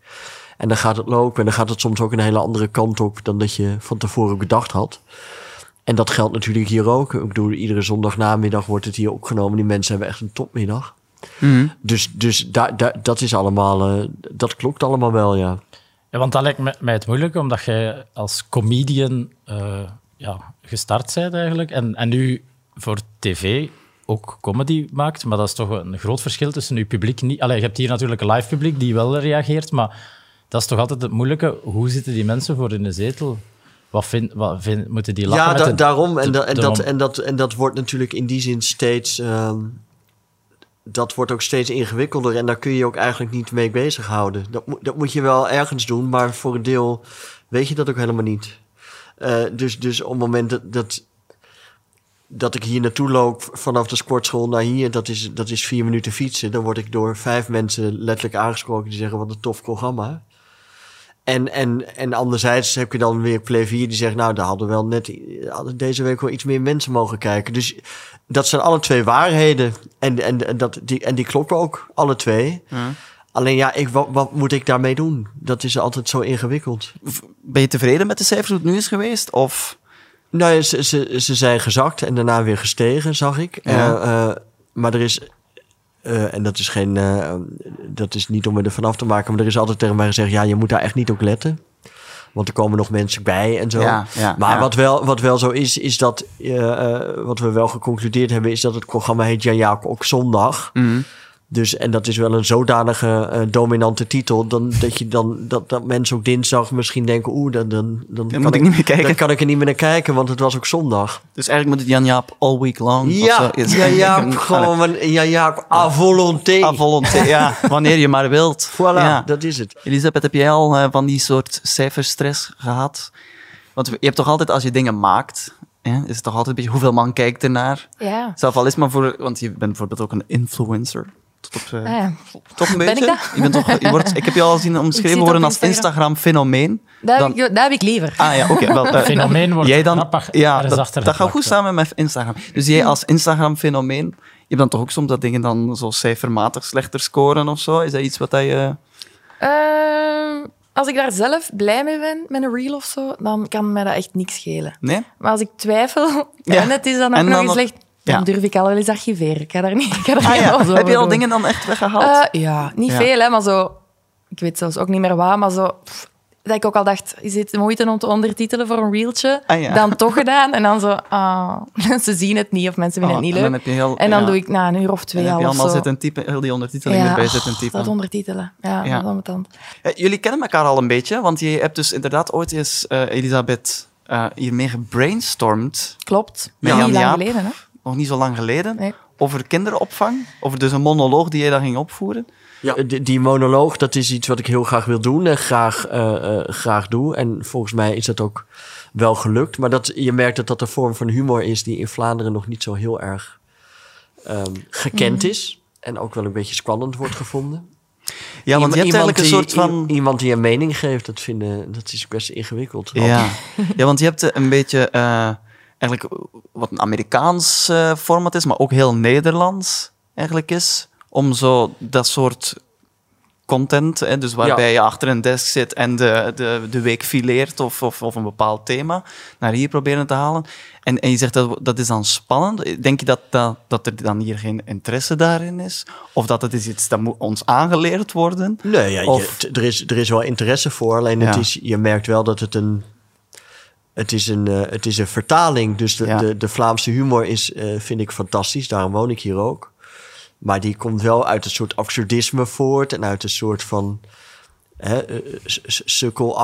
Speaker 4: En dan gaat het lopen. En dan gaat het soms ook een hele andere kant op dan dat je van tevoren bedacht had. En dat geldt natuurlijk hier ook. Ik bedoel, iedere zondagnamiddag wordt het hier opgenomen. Die mensen hebben echt een topmiddag. Dus, dus daar daar- dat is allemaal, eh, dat klopt allemaal wel, ja.
Speaker 2: Ja, want dat lijkt me- mij het moeilijk, omdat jij als comedian eh, ja, gestart bent eigenlijk. En, en nu voor tv ook comedy maakt, maar dat is toch een groot verschil tussen je publiek niet... Allee, je hebt hier natuurlijk een live publiek die wel reageert, maar dat is toch altijd het moeilijke. Hoe zitten die mensen voor in de zetel? Wat, vind, wat vind, moeten die lachen
Speaker 4: Ja,
Speaker 2: met
Speaker 4: da-
Speaker 2: de-
Speaker 4: daarom. En,
Speaker 2: de-
Speaker 4: da- en,
Speaker 2: de
Speaker 4: dat,
Speaker 2: rom-
Speaker 4: en, dat, en dat wordt natuurlijk in die zin steeds. ehm, dat wordt ook steeds ingewikkelder. En daar kun je je ook eigenlijk niet mee bezighouden. Dat, moet- dat moet je wel ergens doen, maar voor een deel weet je dat ook helemaal niet. Eh, dus, dus op het moment dat. dat dat ik hier naartoe loop vanaf de sportschool naar hier, dat is, dat is vier minuten fietsen. Dan word ik door vijf mensen letterlijk aangesproken die zeggen: Wat een tof programma. En, en, en anderzijds heb je dan weer Play 4 die zegt... nou, daar hadden wel net hadden deze week wel iets meer mensen mogen kijken. Dus dat zijn alle twee waarheden. En, en, en dat, die, en die kloppen ook, alle twee. Alleen ja, ik, wat, wat moet ik daarmee doen? Dat is altijd zo ingewikkeld.
Speaker 1: V- ben je tevreden met de cijfers hoe het nu is geweest? Of
Speaker 4: Nou, ja, ze, ze, ze zijn gezakt en daarna weer gestegen, zag ik.
Speaker 1: Ja.
Speaker 4: Eh, eh, maar er is... eh, en dat is, geen, eh, dat is niet om me er vanaf te maken... maar er is altijd tegen mij gezegd... ja, je moet daar echt niet op letten. Want er komen nog mensen bij en zo.
Speaker 1: Ja, ja,
Speaker 4: maar
Speaker 1: ja.
Speaker 4: Wat, wel, wat wel zo is, is dat... eh, eh, wat we wel geconcludeerd hebben... is dat het programma heet Jan Jaap ook zondag. Dus, en dat is wel een zodanige eh, dominante titel. Dan, dat, je dan, dat, dat mensen ook dinsdag misschien denken: oeh, dan, dan, dan, kan
Speaker 1: moet ik niet meer kijken.
Speaker 4: dan kan ik er niet meer naar kijken, want het was ook zondag.
Speaker 1: Dus eigenlijk moet het Jan Jaap all week long.
Speaker 4: Ja,
Speaker 1: of zo, is
Speaker 4: ja, Jaap,
Speaker 1: Allee,
Speaker 4: gewoon, een- ja, Jaap, à volonté.
Speaker 1: à volonté, ja, wanneer je maar wilt.
Speaker 4: Voilà,
Speaker 1: Ja.
Speaker 4: dat is het.
Speaker 1: Elisabeth, heb jij al eh, van die soort cijferstress gehad? Want je hebt toch altijd, als je dingen maakt, hè, is het toch altijd een beetje hoeveel man kijkt ernaar?
Speaker 3: Ja.
Speaker 1: Zelf al is maar voor, want je bent bijvoorbeeld ook een influencer. Tot op, eh,
Speaker 3: Ah, ja.
Speaker 1: Toch een
Speaker 3: Ben
Speaker 1: beetje?
Speaker 3: ik dat?
Speaker 1: Je bent toch, je wordt, ik heb je al zien
Speaker 3: Ik zie
Speaker 1: omschreven
Speaker 3: het
Speaker 1: worden
Speaker 3: op
Speaker 1: als
Speaker 3: Instagram.
Speaker 1: Instagram-fenomeen.
Speaker 3: Dat,
Speaker 1: Dan-
Speaker 3: heb ik, dat heb ik liever.
Speaker 1: Ah ja, oké. wel, eh,
Speaker 2: fenomeen wordt
Speaker 1: jij dan,
Speaker 2: grappig
Speaker 1: ja,
Speaker 2: ergens
Speaker 1: dat,
Speaker 2: achter Hmm.
Speaker 1: dat gaat goed
Speaker 2: geplakt, hè.
Speaker 1: samen met Instagram. Dus jij als Instagram-fenomeen, je hebt dan toch ook soms dat dingen dan zo cijfermatig slechter scoren of zo? Is dat iets wat dat je...
Speaker 3: Ehm, als ik daar zelf blij mee ben, met een reel of zo, dan kan mij dat echt niks schelen.
Speaker 1: Nee?
Speaker 3: Maar als ik twijfel
Speaker 1: Ja.
Speaker 3: en het is dan ook
Speaker 1: En
Speaker 3: nog
Speaker 1: dan
Speaker 3: eens
Speaker 1: nog-
Speaker 3: slecht, dan
Speaker 1: ja.
Speaker 3: durf ik al wel eens archiveren. Ik ga daar niet, ik ga daar
Speaker 1: Ah
Speaker 3: geen
Speaker 1: ja,
Speaker 3: alles
Speaker 1: heb
Speaker 3: over
Speaker 1: je al
Speaker 3: doen.
Speaker 1: dingen dan echt weggehaald?
Speaker 3: Eh, ja, niet
Speaker 1: Ja.
Speaker 3: veel, hè, maar zo... Ik weet zelfs ook niet meer waar, maar zo... pff, dat ik ook al dacht, is dit de moeite om te ondertitelen voor een reeltje?
Speaker 1: Ah, ja.
Speaker 3: Dan toch gedaan. En dan zo, ah, mensen zien het niet of mensen vinden
Speaker 1: Oh,
Speaker 3: het niet
Speaker 1: en dan
Speaker 3: leuk.
Speaker 1: heb je heel-
Speaker 3: en dan
Speaker 1: ja.
Speaker 3: doe ik na een uur of
Speaker 1: En
Speaker 3: twee
Speaker 1: heb
Speaker 3: al
Speaker 1: je
Speaker 3: of
Speaker 1: allemaal
Speaker 3: zo.
Speaker 1: zitten typen, heel die ondertiteling erbij
Speaker 3: oh,
Speaker 1: zitten typen.
Speaker 3: dat ondertitelen. Ja,
Speaker 1: Ja.
Speaker 3: dat is ambetant.
Speaker 1: Eh, Jullie kennen elkaar al een beetje, want je hebt dus inderdaad ooit eens eh, Elisabeth eh, hiermee gebrainstormd,
Speaker 3: Klopt.
Speaker 1: Met
Speaker 3: niet
Speaker 1: Jan
Speaker 3: lang
Speaker 1: Jaap.
Speaker 3: geleden, hè?
Speaker 1: nog niet zo lang geleden,
Speaker 3: Nee.
Speaker 1: over kinderopvang, over dus een monoloog die jij daar ging opvoeren.
Speaker 4: Ja. Eh, Die, die monoloog, dat is iets wat ik heel graag wil doen en graag, eh, eh, graag doe. En volgens mij is dat ook wel gelukt. Maar dat, je merkt dat dat een vorm van humor is die in Vlaanderen nog niet zo heel erg ehm, gekend is. En ook wel een beetje spannend wordt gevonden.
Speaker 1: Ja, want je hebt eigenlijk een
Speaker 4: die,
Speaker 1: soort van...
Speaker 4: i- Iemand die een mening geeft, dat, vinden, dat is best ingewikkeld.
Speaker 1: Ja. ja, want je hebt eh, een beetje eh, eigenlijk wat een Amerikaans eh, format is, maar ook heel Nederlands eigenlijk is, om zo dat soort content, hè, dus waarbij je achter een desk zit en de, de, de week fileert of, of, of een bepaald thema, naar hier proberen te halen. En, en je zegt dat dat is dan spannend. Denk je dat, dat, dat er dan hier geen interesse daarin is? Of dat het is iets dat moet ons aangeleerd worden?
Speaker 4: Nee, ja, je-
Speaker 1: Of-
Speaker 4: t- er, is, er is wel interesse voor. Alleen het
Speaker 1: Ja.
Speaker 4: is, je merkt wel dat het een. Het is een, eh, het is een vertaling. Dus de,
Speaker 1: Ja.
Speaker 4: de, de Vlaamse humor is, eh, vind ik fantastisch. Daarom woon ik hier ook. Maar die komt wel uit een soort absurdisme voort. En uit een soort van hè, eh, s- s-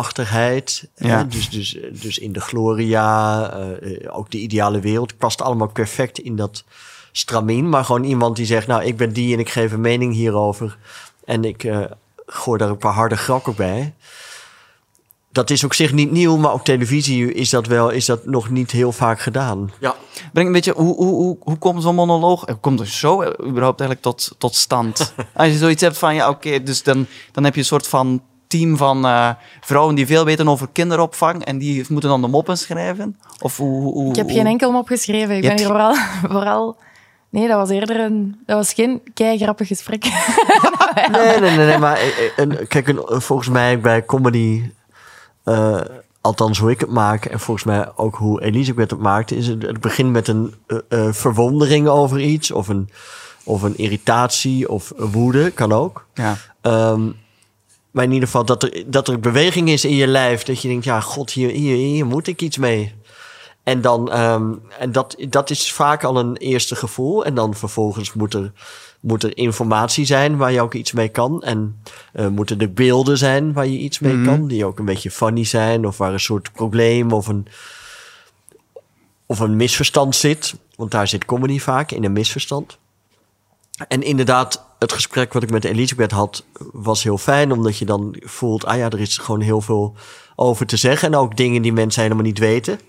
Speaker 4: sukkelachtigheid. hè.
Speaker 1: Ja.
Speaker 4: Dus, dus, dus in de gloria, eh, eh, ook de ideale wereld. Past allemaal perfect in dat stramien. Maar gewoon iemand die zegt, nou, ik ben die en ik geef een mening hierover. En ik eh, gooi daar een paar harde grakken bij. Dat is op zich niet nieuw, maar op televisie is dat wel is dat nog niet heel vaak gedaan. Ja,
Speaker 1: Breng een beetje, hoe, hoe, hoe, hoe komt zo'n monoloog, hoe komt een show eh, überhaupt eigenlijk tot, tot stand? Als je zoiets hebt van, ja oké, dus dan, dan heb je een soort van team van eh, vrouwen die veel weten over kinderopvang en die moeten dan de moppen schrijven? Of hoe, hoe, hoe-
Speaker 3: Ik heb geen enkel mop geschreven. Ik
Speaker 1: Je
Speaker 3: ben hier
Speaker 1: hebt
Speaker 3: vooral, vooral... Nee, dat was eerder een... Dat was geen kei-grappig gesprek.
Speaker 4: Nee, nee, nee, nee, maar eh, eh, een- kijk, een- eh, volgens mij bij comedy, eh, althans hoe ik het maak en volgens mij ook hoe Elisabeth het maakte, is het, het begint met een eh, eh, verwondering over iets of een, of een irritatie of woede, kan ook.
Speaker 1: Ja.
Speaker 4: Ehm, maar in ieder geval dat er, dat er beweging is in je lijf. Dat je denkt, ja, god, hier, hier, hier moet ik iets mee. En, dan, ehm, en dat, dat is vaak al een eerste gevoel. En dan vervolgens moet er, moet er informatie zijn waar je ook iets mee kan. En eh, moeten er beelden zijn waar je iets mee kan. Die ook een beetje funny zijn. Of waar een soort probleem of een, of een misverstand zit. Want daar zit comedy vaak in een misverstand. En inderdaad, het gesprek wat ik met Elisabeth had, was heel fijn. Omdat je dan voelt, ah ja, er is gewoon heel veel over te zeggen. En ook dingen die mensen helemaal niet weten.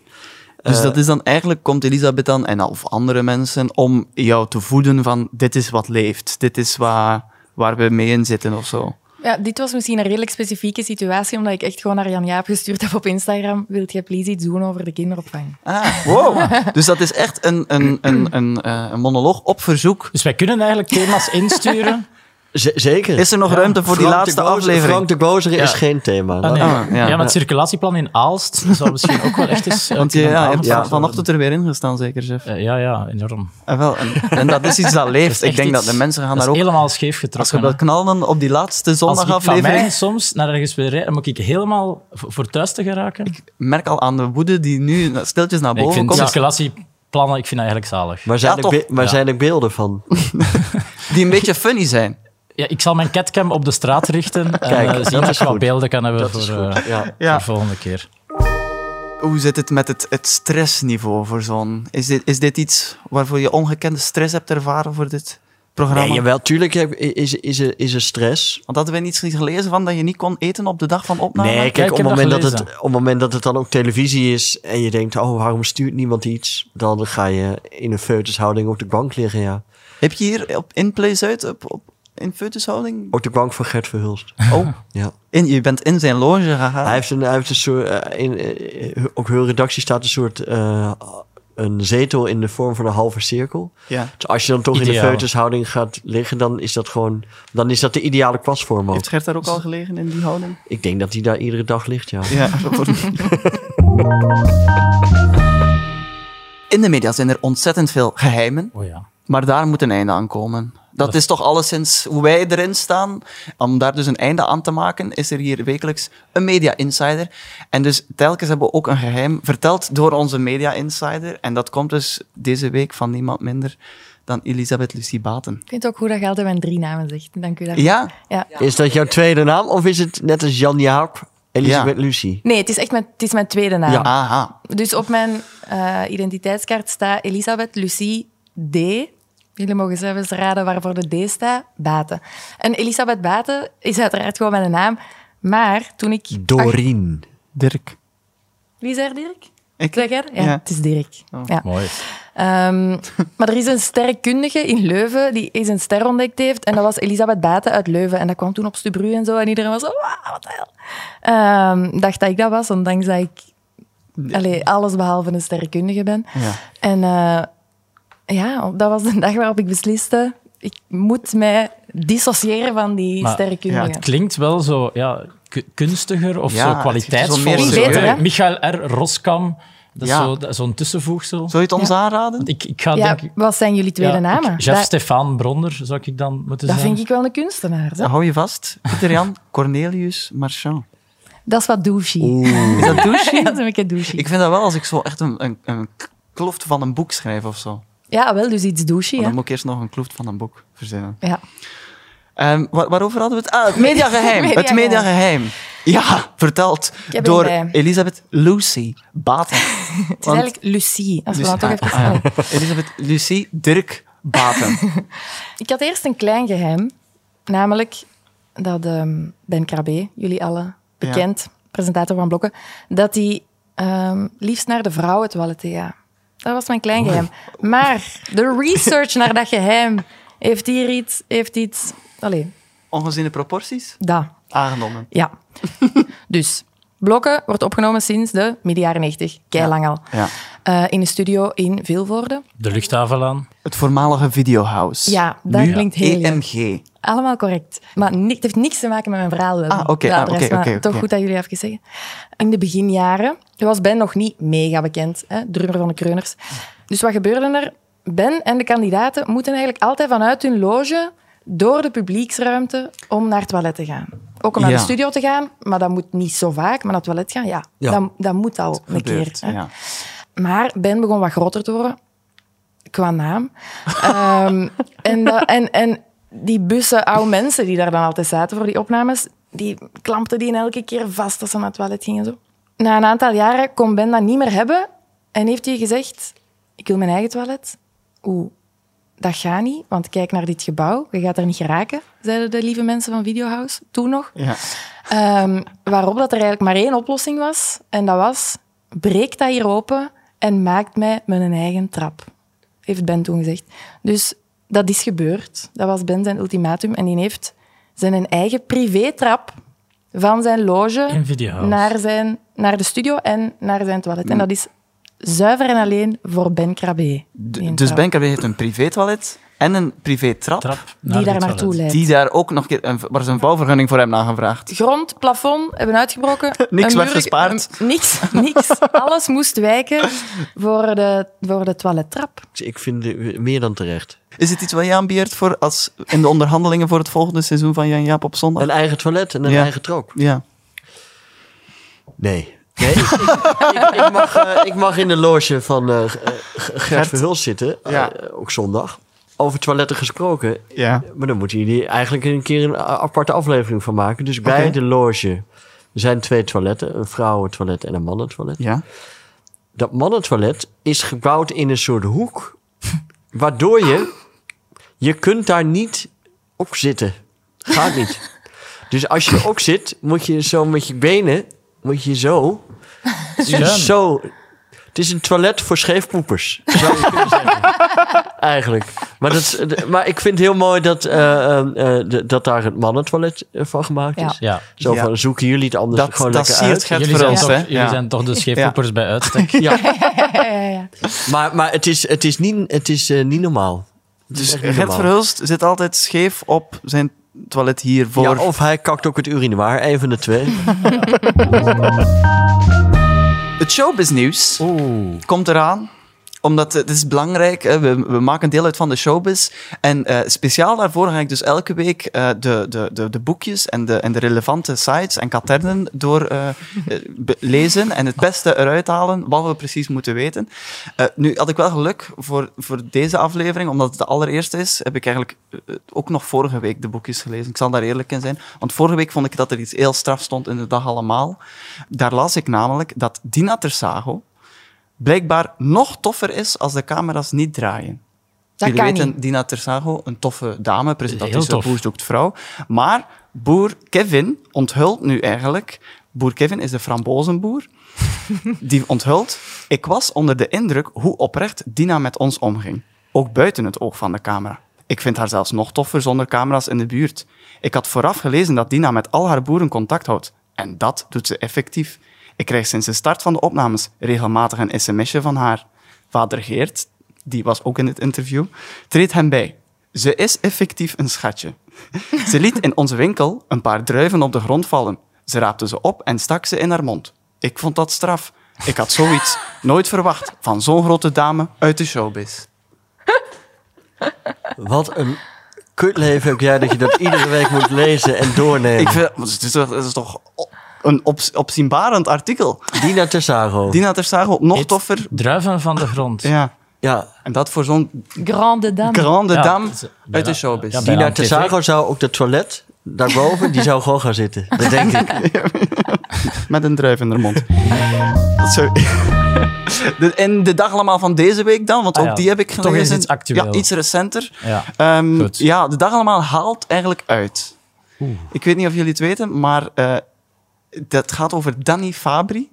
Speaker 1: Dus dat is dan eigenlijk, komt Elisabeth dan, en, of andere mensen, om jou te voeden van, dit is wat leeft, dit is waar, waar we mee in zitten of zo.
Speaker 3: Ja, dit was misschien een redelijk specifieke situatie, omdat ik echt gewoon naar Jan Jaap gestuurd heb op Instagram. Wilt jij please iets doen over de kinderopvang?
Speaker 1: Ah, wow. dus dat is echt een, een, een, een, eh, een monoloog op verzoek.
Speaker 2: Dus wij kunnen eigenlijk thema's insturen.
Speaker 4: Z- zeker.
Speaker 1: Is er nog ruimte voor die
Speaker 4: Frank de
Speaker 1: laatste
Speaker 4: Bozer-
Speaker 1: aflevering?
Speaker 4: Frank de Bozer is
Speaker 2: Ja.
Speaker 4: geen thema.
Speaker 2: Ah, nee.
Speaker 1: Ah, ja.
Speaker 2: ja. maar het circulatieplan in Aalst zou misschien ook wel echt eens... eh,
Speaker 1: Want je,
Speaker 2: kunnen
Speaker 1: ja, je hebt
Speaker 2: aanvragen
Speaker 1: van- vanochtend er weer in gestaan, zeker, chef.
Speaker 2: worden. Eh, ja, ja, enorm.
Speaker 1: En, wel, en, en dat is iets dat leeft.
Speaker 2: is
Speaker 1: ik denk
Speaker 2: echt
Speaker 1: dat de
Speaker 2: iets-
Speaker 1: mensen gaan
Speaker 2: dat
Speaker 1: daar
Speaker 2: is
Speaker 1: ook...
Speaker 2: helemaal scheef
Speaker 1: Als we
Speaker 2: getrokken. hè.
Speaker 1: wil knallen op die laatste
Speaker 2: Als ik van mij
Speaker 1: zondagaflevering...
Speaker 2: soms naar ergens wil rijden, moet ik helemaal voor voor thuis te geraken.
Speaker 1: Ik merk al aan de woede die nu stiltjes naar
Speaker 2: Nee, ik
Speaker 1: boven
Speaker 2: vind het
Speaker 1: komt.
Speaker 2: circulatieplan plannen, ik vind dat eigenlijk zalig.
Speaker 4: Maar zijn,
Speaker 1: Ja,
Speaker 4: er,
Speaker 1: toch?
Speaker 4: be- maar
Speaker 2: Ja.
Speaker 4: zijn er beelden van?
Speaker 1: Die een beetje funny zijn.
Speaker 2: Ja, ik zal mijn catcam op de straat richten en
Speaker 4: Kijk,
Speaker 2: eh, zien
Speaker 4: dat
Speaker 2: of
Speaker 4: is
Speaker 2: ik wat
Speaker 4: goed.
Speaker 2: beelden kan hebben
Speaker 4: Dat
Speaker 2: voor,
Speaker 4: is goed.
Speaker 2: eh,
Speaker 4: Ja.
Speaker 1: Ja.
Speaker 2: voor volgende keer.
Speaker 1: Hoe zit het met het, het stressniveau voor zo'n... Is dit, is dit iets waarvoor je ongekende stress hebt ervaren voor dit programma?
Speaker 4: Nee, jawel, tuurlijk heb- is, is, er- is er stress.
Speaker 1: Want hadden we niet iets gelezen van dat je niet kon eten op de dag van opname?
Speaker 4: nee,
Speaker 2: ik
Speaker 4: kijk, op
Speaker 2: heb
Speaker 4: het
Speaker 2: dat
Speaker 4: moment dat het,
Speaker 2: gelezen.
Speaker 4: op het moment dat het dan ook televisie is en je denkt, oh, waarom stuurt niemand iets? Dan ga je in een feutushouding op de bank liggen, ja.
Speaker 1: Heb je hier op Inplay Zuid, op, op, in feutushouding?
Speaker 4: Op de bank van Gert Verhulst.
Speaker 1: Oh,
Speaker 4: Ja.
Speaker 1: in, je bent in zijn loge gegaan.
Speaker 4: Hij heeft een, hij heeft een soort, eh, in, eh, op hun redactie staat een soort, eh, een zetel in de vorm van een halve cirkel.
Speaker 1: ja.
Speaker 4: Dus als je dan toch in de
Speaker 2: Ideaal.
Speaker 4: feutushouding gaat liggen, dan is dat gewoon, dan is dat de ideale kwastvorm ook.
Speaker 1: Heeft Gert daar ook al gelegen in die houding?
Speaker 4: Ik denk dat hij daar iedere dag ligt, ja.
Speaker 1: Ja. in de media zijn er ontzettend veel geheimen.
Speaker 2: Oh ja.
Speaker 1: Maar daar moet een einde aan komen. Dat is toch alleszins hoe wij erin staan. Om daar dus een einde aan te maken, is er hier wekelijks een media insider. En dus telkens hebben we ook een geheim verteld door onze media insider. En dat komt dus deze week van niemand minder dan Elisabeth Lucie Baten.
Speaker 3: Ik vind het ook goed dat je altijd mijn drie namen zegt. Dank u daarvoor.
Speaker 1: Ja,
Speaker 3: Ja.
Speaker 4: Is dat jouw tweede naam of is het net als Jan Jaap, Elisabeth
Speaker 1: Ja.
Speaker 4: Lucie?
Speaker 3: Nee, het is echt mijn, het is mijn tweede naam.
Speaker 4: Ja.
Speaker 1: aha.
Speaker 3: Dus op mijn eh, identiteitskaart staat Elisabeth Lucie D. Jullie mogen zelf eens raden waarvoor de D staat. Baten. En Elisabeth Baten is uiteraard gewoon mijn naam. Maar toen ik... Ach,
Speaker 4: Dorien.
Speaker 1: Dirk.
Speaker 3: wie zei er, Dirk?
Speaker 1: Ik?
Speaker 3: Zeg jij er? Ja,
Speaker 1: Ja. Oh.
Speaker 3: het is Dirk. Ja.
Speaker 2: Mooi.
Speaker 3: Ehm, maar er is een sterrenkundige in Leuven die eens een ster ontdekt heeft. En dat was Elisabeth Baten uit Leuven. En dat kwam toen op Stubru en zo. En iedereen was zo, "Wauw, wat de hel. Ehm, dacht dat ik dat was, ondanks dat ik allee, alles behalve een sterrenkundige ben.
Speaker 1: Ja.
Speaker 3: En eh, ja, dat was de dag waarop ik besliste, ik moet mij dissociëren van die
Speaker 2: Maar-
Speaker 3: sterrenkundige.
Speaker 2: Het klinkt wel zo ja, k- kunstiger of
Speaker 1: Ja, het-
Speaker 2: zo
Speaker 1: het is wel
Speaker 2: kwaliteitsvoller.
Speaker 1: meer
Speaker 2: Zo,
Speaker 3: Beter,
Speaker 2: eh,
Speaker 3: hè?
Speaker 2: Michael R. Roskam, dat is
Speaker 1: Ja.
Speaker 2: zo- dat is zo'n tussenvoegsel.
Speaker 1: Zou je het ons aanraden?
Speaker 2: Ik, ik ga
Speaker 3: ja,
Speaker 2: denk ik...
Speaker 3: wat zijn jullie tweede
Speaker 2: ja,
Speaker 3: namen?
Speaker 2: ik- Jeff
Speaker 3: Dat-
Speaker 2: Stefan Bronder zou ik dan moeten
Speaker 3: dat
Speaker 2: zijn.
Speaker 3: vind ik wel een kunstenaar. hè?
Speaker 1: Hou je vast. Pieter Jan Cornelius Marchand.
Speaker 3: Dat is wat douchey.
Speaker 1: Is dat douche?
Speaker 3: Ja, dat is een beetje douchey.
Speaker 1: Ik vind dat wel als ik zo echt een, een, een kloft van een boek schrijf of zo.
Speaker 3: Ja, wel, dus iets douchey.
Speaker 1: Maar
Speaker 3: hè.
Speaker 1: dan moet ik eerst nog een kloft van een boek verzinnen.
Speaker 3: Ja.
Speaker 1: Ehm, waar- waarover hadden we het? Ah, het mediageheim. het
Speaker 3: Mediageheim.
Speaker 1: mediageheim. Ja, verteld
Speaker 3: heb
Speaker 1: door
Speaker 3: erbij.
Speaker 1: Elisabeth Lucy Baten.
Speaker 3: Het is eigenlijk Lucie. Als we
Speaker 1: Lucy-
Speaker 3: dat toch even
Speaker 1: ah, ah, ja. Elisabeth Lucy Dirk Baten.
Speaker 3: Ik had eerst een klein geheim, namelijk dat ehm, Ben Krabbe, jullie allen bekend, presentator van Blokken, dat hij ehm, liefst naar de vrouwen toilette gaat. Dat was mijn klein geheim. Maar de research naar dat geheim heeft hier iets... Heeft iets allee,
Speaker 1: Ongeziene proporties?
Speaker 3: dat.
Speaker 1: Aangenomen.
Speaker 3: Ja. dus, Blokken wordt opgenomen sinds de midden jaren 90. Kei lang al.
Speaker 1: Ja.
Speaker 3: Eh, in een studio in Vilvoorde.
Speaker 2: De luchthaven aan.
Speaker 1: Het voormalige videohouse.
Speaker 3: Ja, dat
Speaker 1: Nu E
Speaker 3: klinkt heel leuk.
Speaker 1: EMG.
Speaker 3: Allemaal correct. Maar ni- het heeft niks te maken met mijn verhaal. Wel.
Speaker 1: Ah, oké,
Speaker 3: De
Speaker 1: ah,
Speaker 3: adres,
Speaker 1: oké,
Speaker 3: maar
Speaker 1: oké,
Speaker 3: Toch
Speaker 1: oké.
Speaker 3: goed dat jullie even zeggen. In de beginjaren was Ben nog niet mega bekend. Hè? Drummer van de Kreuners. Dus wat gebeurde er? Ben en de kandidaten moeten eigenlijk altijd vanuit hun loge door de publieksruimte om naar het toilet te gaan. Ook om naar
Speaker 1: Ja.
Speaker 3: de studio te gaan, maar dat moet niet zo vaak. Maar naar het toilet gaan, ja,
Speaker 4: Ja.
Speaker 3: Dat, dat moet al een keer.
Speaker 1: Gebeurd,
Speaker 3: hè.
Speaker 1: ja.
Speaker 3: Maar Ben begon wat groter te worden. Qua naam. Ehm, en, dat- en, en die bussen oude mensen die daar dan altijd zaten voor die opnames, die klampten die elke keer vast als ze naar het toilet gingen. Zo. Na een aantal jaren kon Ben dat niet meer hebben en heeft hij gezegd, ik wil mijn eigen toilet. Oeh, dat gaat niet, want kijk naar dit gebouw, je gaat er niet geraken, zeiden de lieve mensen van Videohouse toen nog.
Speaker 1: Ja.
Speaker 3: Ehm, waarop dat er eigenlijk maar één oplossing was. En dat was, breek dat hier open en maakt mij mijn eigen trap. Heeft Ben toen gezegd. Dus dat is gebeurd. Dat was Ben zijn ultimatum. En die heeft zijn eigen privétrap van zijn loge
Speaker 2: In Videohouse.
Speaker 3: naar, zijn, naar de studio en naar zijn toilet.
Speaker 1: Mm.
Speaker 3: En dat is zuiver en alleen voor Ben Krabbe.
Speaker 1: D-
Speaker 3: Die
Speaker 1: dus
Speaker 3: trap.
Speaker 1: Benker heeft een privé-toilet en een privé-trap.
Speaker 2: Trap naar
Speaker 3: Die daar
Speaker 2: de
Speaker 3: naartoe
Speaker 2: toilet.
Speaker 3: leidt.
Speaker 1: Die daar ook nog een keer, een- waar ze een bouwvergunning voor hebben aangevraagd.
Speaker 3: grond, plafond hebben uitgebroken.
Speaker 1: Niks
Speaker 3: Een
Speaker 1: werd
Speaker 3: muur-
Speaker 1: gespaard.
Speaker 3: een- niks, niks. Alles moest wijken voor de, voor de toilettrap.
Speaker 4: Ik vind het meer dan terecht.
Speaker 1: Is het iets wat je aanbiedt voor als in de onderhandelingen voor het volgende seizoen van Jan Jaap op zondag?
Speaker 4: Een eigen toilet en een
Speaker 1: Ja.
Speaker 4: eigen trok.
Speaker 1: Ja.
Speaker 4: Nee. Nee, ik, ik- ik mag, eh, ik mag in de loge van eh, G- eh, G- Gert Verhulst zitten, eh,
Speaker 1: Ja.
Speaker 4: eh, ook zondag. Over toiletten gesproken,
Speaker 1: Ja.
Speaker 4: maar dan moeten jullie eigenlijk een keer een a- aparte aflevering van maken. Dus bij
Speaker 1: Oké.
Speaker 4: de loge er zijn twee toiletten, een vrouwentoilet en een mannentoilet.
Speaker 1: Ja.
Speaker 4: Dat mannentoilet is gebouwd in een soort hoek, waardoor je, je kunt daar niet op zitten. Gaat niet. Dus als je ook zit, moet je zo met je benen, moet je zo
Speaker 2: Schuin.
Speaker 4: dus zo. Het is een toilet voor scheefpoepers. Zou je kunnen zeggen. Eigenlijk. Maar, dat, is- d- maar ik vind het heel mooi dat, eh, eh, eh, d- dat daar het mannentoilet eh, van gemaakt
Speaker 3: Ja.
Speaker 4: is.
Speaker 2: Ja.
Speaker 4: Zo
Speaker 1: Ja.
Speaker 4: van, zoeken jullie het anders
Speaker 1: Dat,
Speaker 4: gewoon
Speaker 1: dat
Speaker 4: lekker uit.
Speaker 1: siert Gert
Speaker 2: Jullie, zijn,
Speaker 1: Verhulst,
Speaker 2: toch,
Speaker 1: hè?
Speaker 2: jullie
Speaker 1: Ja.
Speaker 2: zijn toch de scheefpoepers bij uitstek?
Speaker 4: Ja,
Speaker 3: Ja, ja, ja.
Speaker 4: maar, maar het is, het is, niet, het is eh, niet normaal. Het is
Speaker 1: Dus
Speaker 4: echt niet
Speaker 1: Gert
Speaker 4: normaal.
Speaker 1: Verhulst zit altijd scheef op zijn toilet hiervoor.
Speaker 4: Ja, of hij kakt ook het urinoir, een van de twee.
Speaker 1: Het showbiznieuws
Speaker 2: Oeh.
Speaker 1: komt eraan omdat eh, het is belangrijk, hè, we, we maken deel uit van de showbiz. En eh, speciaal daarvoor ga ik dus elke week eh, de, de, de, de boekjes en de, en de relevante sites en katernen eh, doorlezen en het beste eruit halen wat we precies moeten weten. Eh, nu had ik wel geluk voor, voor deze aflevering, omdat het de allereerste is, heb ik eigenlijk eh, ook nog vorige week de boekjes gelezen. Ik zal daar eerlijk in zijn. Want vorige week vond ik dat er iets heel straf stond in de dag allemaal. Daar las ik namelijk dat Dina Tersago blijkbaar nog toffer is als de camera's niet draaien.
Speaker 3: Dat
Speaker 1: Jullie
Speaker 3: kan
Speaker 1: weten,
Speaker 3: niet.
Speaker 1: Dina Tersago, een toffe dame,
Speaker 2: Heel
Speaker 1: presentatrice
Speaker 2: tof.
Speaker 1: van Boer zoekt vrouw. Maar boer Kevin onthult nu eigenlijk... Boer Kevin is de frambozenboer. Die onthult... Ik was onder de indruk hoe oprecht Dina met ons omging. Ook buiten het oog van de camera. Ik vind haar zelfs nog toffer zonder camera's in de buurt. Ik had vooraf gelezen dat Dina met al haar boeren contact houdt. En dat doet ze effectief. Ik krijg sinds de start van de opnames regelmatig een sms'je van haar. Vader Geert, die was ook in het interview, treedt hem bij. Ze is effectief een schatje. Ze liet in onze winkel een paar druiven op de grond vallen. Ze raapte ze op en stak ze in haar mond. Ik vond dat straf. Ik had zoiets nooit verwacht van zo'n grote dame uit de showbiz.
Speaker 4: Wat een kutleven heb jij dat je dat iedere week moet lezen en doornemen.
Speaker 1: Ik vind, het, is toch, het is toch o- een op- opzienbarend artikel.
Speaker 4: Dina Tessaro.
Speaker 1: Dina Tersago, nog
Speaker 2: Eet
Speaker 1: toffer.
Speaker 2: Druiven van de grond.
Speaker 1: Ja.
Speaker 4: Ja,
Speaker 1: En dat voor zo'n
Speaker 3: Grande dame.
Speaker 1: grande
Speaker 2: Ja,
Speaker 1: dame
Speaker 2: het is-
Speaker 1: uit
Speaker 2: bijna-
Speaker 1: de showbiz.
Speaker 2: ja,
Speaker 4: Dina
Speaker 2: aan tv.
Speaker 4: Tessago zou ook dat toilet daarboven, die zou gewoon gaan zitten. Dat denk ik.
Speaker 1: Met een druif in haar mond. Dat zou... De- en de dag allemaal van deze week dan, want
Speaker 2: Ah
Speaker 1: ook
Speaker 2: ja,
Speaker 1: die heb ik
Speaker 2: toch
Speaker 1: gelezen.
Speaker 2: eens iets actueel.
Speaker 1: Ja, iets recenter.
Speaker 2: Ja.
Speaker 1: Ehm,
Speaker 2: Goed.
Speaker 1: ja, de dag allemaal haalt eigenlijk uit. Ik weet niet of jullie het weten, maar eh, dat gaat over Danny Fabri.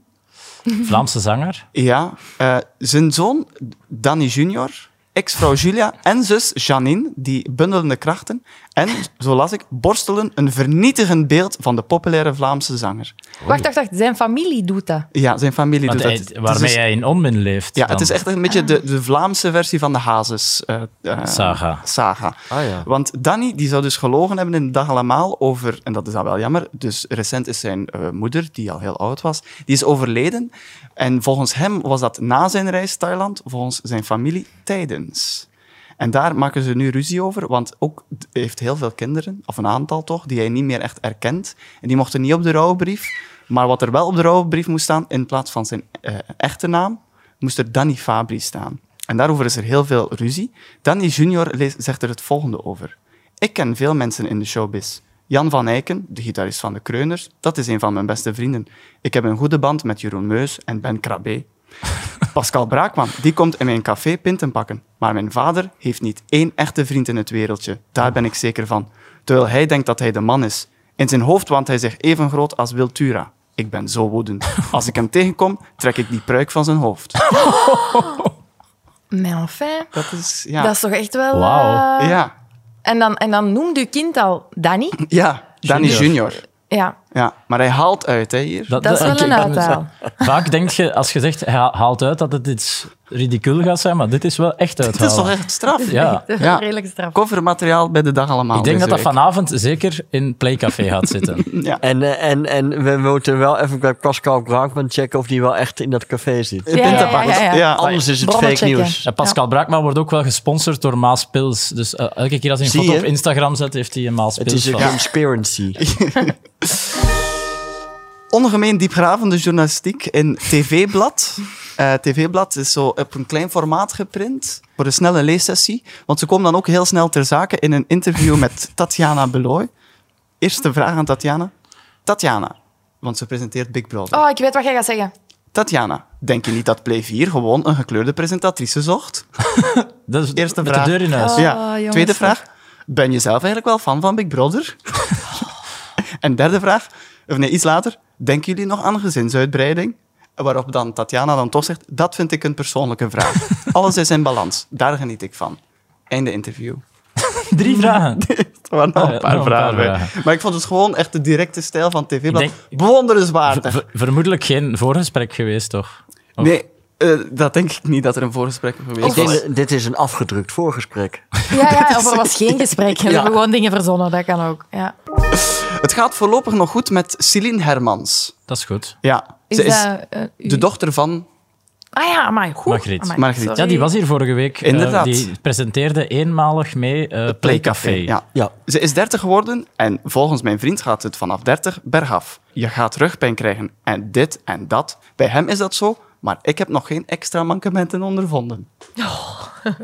Speaker 2: Vlaamse zanger.
Speaker 1: Ja, eh, zijn zoon Danny Junior, ex-vrouw Julia en zus Janine, die bundelende krachten. En, zo las ik, borstelen een vernietigend beeld van de populaire Vlaamse zanger.
Speaker 3: Wacht, wacht, wacht. Zijn familie doet dat.
Speaker 1: Ja, zijn familie
Speaker 2: Want
Speaker 1: doet
Speaker 2: hij-
Speaker 1: dat. Het is
Speaker 2: waarmee
Speaker 1: dus-
Speaker 2: hij in onmin leeft.
Speaker 1: Ja,
Speaker 2: dan.
Speaker 1: het is echt een beetje de, de Vlaamse versie van de Hazes. eh, eh,
Speaker 2: Saga.
Speaker 1: saga.
Speaker 4: Ah ja.
Speaker 1: Want Danny die zou dus gelogen hebben in de dag allemaal over, en dat is dan wel jammer, dus recent is zijn eh, moeder, die al heel oud was, die is overleden. En volgens hem was dat na zijn reis Thailand, volgens zijn familie tijdens. En daar maken ze nu ruzie over, want ook d- hij heeft heel veel kinderen, of een aantal toch, die hij niet meer echt erkent. En die mochten niet op de rouwbrief. Maar wat er wel op de rouwbrief moest staan, in plaats van zijn eh, echte naam, moest er Danny Fabri staan. En daarover is er heel veel ruzie. Danny Junior leest- zegt er het volgende over. Ik ken veel mensen in de showbiz. Jan van Eycken, de gitarist van de Kreuners, dat is een van mijn beste vrienden. Ik heb een goede band met Jeroen Meus en Ben Krabbe. Pascal Braakman, die komt in mijn café pinten pakken. Maar mijn vader heeft niet één echte vriend in het wereldje. Daar ben ik zeker van. Terwijl hij denkt dat hij de man is. In zijn hoofd waant hij zich even groot als Wiltura. Ik ben zo woedend. Als ik hem tegenkom, trek ik die pruik van zijn hoofd.
Speaker 3: Maar enfin,
Speaker 1: Dat is... Ja.
Speaker 3: dat is toch echt wel...
Speaker 2: Wauw.
Speaker 3: eh,
Speaker 1: ja.
Speaker 3: En, dan, en dan noemde je kind al Danny.
Speaker 1: ja, Danny
Speaker 2: Junior.
Speaker 1: Junior.
Speaker 3: Ja,
Speaker 1: Ja, maar hij haalt uit hè, hier.
Speaker 3: dat is wel
Speaker 2: ik-
Speaker 3: een
Speaker 2: ik- dus-
Speaker 3: uithaal.
Speaker 2: Vaak denk je, als je zegt, hij haalt uit dat het iets ridicuul gaat zijn, maar dit is wel echt
Speaker 1: Het is toch
Speaker 2: uithalen.
Speaker 1: echt straf?
Speaker 2: Ja.
Speaker 3: Dat is
Speaker 1: Ja.
Speaker 3: redelijk straf.
Speaker 1: Covermateriaal bij de dag allemaal. dus
Speaker 2: Ik denk dat dat
Speaker 1: deze
Speaker 2: vanavond zeker in Playcafé gaat zitten.
Speaker 1: week. Ja.
Speaker 4: En, eh, en, en we moeten wel even bij Pascal Braakman checken of die wel echt in dat café zit.
Speaker 3: Ja, ja, ja, ja, ja.
Speaker 1: Ja.
Speaker 4: Anders is het
Speaker 3: Bronnen
Speaker 4: fake
Speaker 3: checken.
Speaker 4: nieuws.
Speaker 2: Ja, Pascal Braakman wordt ook wel gesponsord door Maas Pils. Dus eh, elke keer als hij een
Speaker 4: Zie
Speaker 2: foto
Speaker 4: je?
Speaker 2: op Instagram zet, heeft hij een Maas
Speaker 4: Het
Speaker 2: Pils.
Speaker 4: is een
Speaker 2: van.
Speaker 4: conspiracy.
Speaker 1: ongemeen diepgravende journalistiek in TV-blad. Eh, TV-blad is zo op een klein formaat geprint voor een snelle leessessie. Want ze komen dan ook heel snel ter zake in een interview met Tatjana Beloy. Eerste vraag aan Tatjana. Tatjana, want ze presenteert Big Brother.
Speaker 3: Oh, ik weet wat jij gaat zeggen.
Speaker 1: Tatjana, denk je niet dat Play 4 gewoon een gekleurde presentatrice zocht?
Speaker 2: Dat is
Speaker 1: Eerste
Speaker 2: met
Speaker 1: vraag.
Speaker 2: de deur in huis.
Speaker 3: Oh,
Speaker 1: ja.
Speaker 3: jongens,
Speaker 1: Tweede
Speaker 3: zeg.
Speaker 1: vraag. Ben je zelf eigenlijk wel fan van Big Brother? en derde vraag. Of nee, iets later. Denken jullie nog aan gezinsuitbreiding? Waarop dan Tatjana dan toch zegt, dat vind ik een persoonlijke vraag. Alles is in balans. Daar geniet ik van. Einde interview.
Speaker 2: Drie vragen.
Speaker 1: Het waren nog
Speaker 2: Ah,
Speaker 1: een
Speaker 2: ja,
Speaker 1: paar
Speaker 2: nog een paar
Speaker 1: vragen. bij.
Speaker 2: vragen.
Speaker 1: Maar ik vond het gewoon echt de directe stijl van TV-blad.
Speaker 2: Ik denk- Ver-
Speaker 1: Bewonderenswaardig.
Speaker 2: ver- vermoedelijk geen voorgesprek geweest, toch? of-
Speaker 1: Nee, eh, dat denk ik niet dat er een voorgesprek geweest
Speaker 4: Ik
Speaker 1: was.
Speaker 4: denk, dit is een afgedrukt voorgesprek.
Speaker 3: Ja, ja, of er was geen gesprek. We hebben gewoon dingen verzonnen, dat kan ook. Ja.
Speaker 1: Het gaat voorlopig nog goed met Celine Hermans.
Speaker 2: Dat is goed.
Speaker 1: Ja,
Speaker 3: Is
Speaker 1: ze is
Speaker 3: dat, eh, u-
Speaker 1: de dochter van
Speaker 3: Ah ja, maar goed.
Speaker 2: Margriet.
Speaker 1: Margriet.
Speaker 2: Ja, die was hier vorige week. eh,
Speaker 1: Inderdaad.
Speaker 2: die presenteerde eenmalig mee eh, Playcafé.
Speaker 1: Ja.
Speaker 4: Ja.
Speaker 1: Ze is 30 geworden en volgens mijn vriend gaat het vanaf 30 bergaf. Je gaat rugpijn krijgen en dit en dat. Bij hem is dat zo, maar ik heb nog geen extra mankementen ondervonden.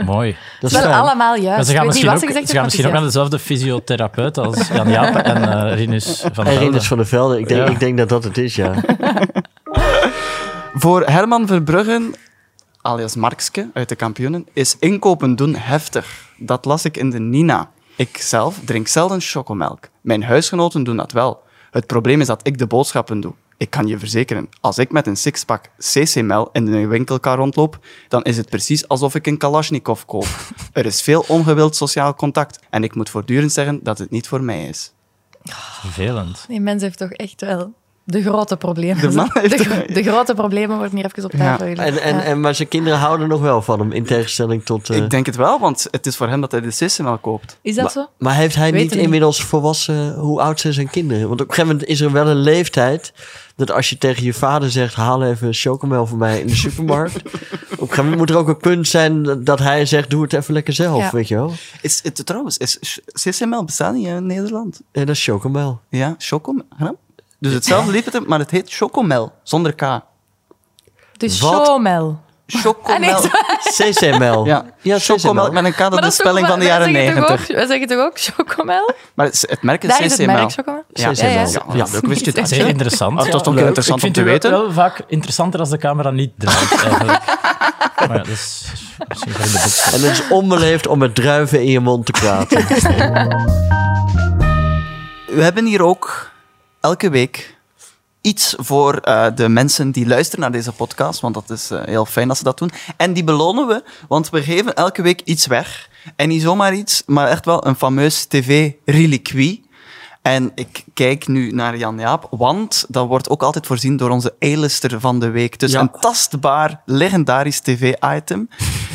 Speaker 2: Mooi.
Speaker 4: Dat is
Speaker 3: Wel
Speaker 4: fijn.
Speaker 3: allemaal juist.
Speaker 2: Maar ze gaan
Speaker 3: Ik weet niet
Speaker 2: misschien,
Speaker 3: wat
Speaker 2: ook,
Speaker 3: ze gezegd
Speaker 2: ze
Speaker 3: heeft,
Speaker 2: gaan misschien ook
Speaker 3: maar
Speaker 2: naar dezelfde fysiotherapeut als Jan Jaap en eh Rinus van
Speaker 4: En
Speaker 2: der
Speaker 4: Rinus
Speaker 2: Velde.
Speaker 4: van der Velde, ik denk,
Speaker 2: Ja.
Speaker 4: ik denk dat dat het is, ja.
Speaker 1: Voor Herman Verbruggen, alias Markske uit de kampioenen, is inkopen doen heftig. Dat las ik in de Nina. Ik zelf drink zelden chocomelk. Mijn huisgenoten doen dat wel. Het probleem is dat ik de boodschappen doe. Ik kan je verzekeren, als ik met een sixpack CC-mel in de winkelkar rondloop, dan is het precies alsof ik een Kalashnikov koop. Er is veel ongewild sociaal contact en ik moet voortdurend zeggen dat het niet voor mij is.
Speaker 2: Vervelend.
Speaker 3: Die mens heeft toch echt wel de grote problemen.
Speaker 1: De man heeft-
Speaker 3: de, gro- de grote problemen worden hier even op
Speaker 1: Ja.
Speaker 3: tafel gelegd.
Speaker 4: En, en,
Speaker 3: Ja.
Speaker 4: en, maar zijn kinderen houden nog wel van hem, in tegenstelling tot... eh,
Speaker 1: Ik denk het wel, want het is voor hem dat hij de CC-mel koopt.
Speaker 3: Is dat
Speaker 4: maar,
Speaker 3: zo?
Speaker 4: Maar heeft hij
Speaker 3: Weet
Speaker 4: niet
Speaker 3: het niet.
Speaker 4: inmiddels volwassen hoe oud zijn zijn kinderen? Want op een gegeven moment is er wel een leeftijd... dat als je tegen je vader zegt... haal even een chocomel voor mij in de supermarkt... op een gegeven moment moet er ook een punt zijn... dat- dat hij zegt, doe het even lekker zelf,
Speaker 3: Ja.
Speaker 4: weet je wel?
Speaker 1: Is, het, trouwens, is, CCML bestaat niet in Nederland.
Speaker 4: En dat is chocomel.
Speaker 1: Ja, chocomel. hè? Dus hetzelfde liep het, maar het heet chocomel, zonder K.
Speaker 3: De
Speaker 4: Wat?
Speaker 3: showmel. Ah, nee,
Speaker 1: Chocomel.
Speaker 3: sorry.
Speaker 4: CCMel.
Speaker 1: ja, chocomel met een K, dat is
Speaker 3: Maar
Speaker 1: de
Speaker 3: dat is toch
Speaker 1: spelling
Speaker 3: wel-
Speaker 1: van de
Speaker 3: wij
Speaker 1: jaren
Speaker 3: zeggen toch
Speaker 1: 90.
Speaker 3: ook- Wij zeggen toch ook chocomel?
Speaker 1: Maar het, het merk is
Speaker 3: Daar is het
Speaker 1: CCML.
Speaker 3: merk chocomel.
Speaker 1: ja,
Speaker 4: CCML.
Speaker 1: ja,
Speaker 4: Ja,
Speaker 1: ja, leuk, wist je
Speaker 2: Dat
Speaker 1: het.
Speaker 2: is heel interessant.
Speaker 1: Maar het was
Speaker 2: Ja,
Speaker 1: toch
Speaker 2: leuk.
Speaker 1: interessant
Speaker 2: Ik vind
Speaker 1: om te
Speaker 2: u
Speaker 1: weten.
Speaker 2: wel vaak interessanter als de camera niet draait, eigenlijk. maar ja, dat is misschien voor in de boek.
Speaker 4: En het is onbeleefd om met druiven in je mond te praten.
Speaker 1: We hebben hier ook elke week iets voor eh, de mensen die luisteren naar deze podcast, want dat is eh, heel fijn dat ze dat doen. En die belonen we, want we geven elke week iets weg. En niet zomaar iets, maar echt wel een fameus tv-reliquie. En ik kijk nu naar Jan-Jaap, want dat wordt ook altijd voorzien door onze A-lister van de week. Dus
Speaker 4: Ja.
Speaker 1: een tastbaar, legendarisch tv-item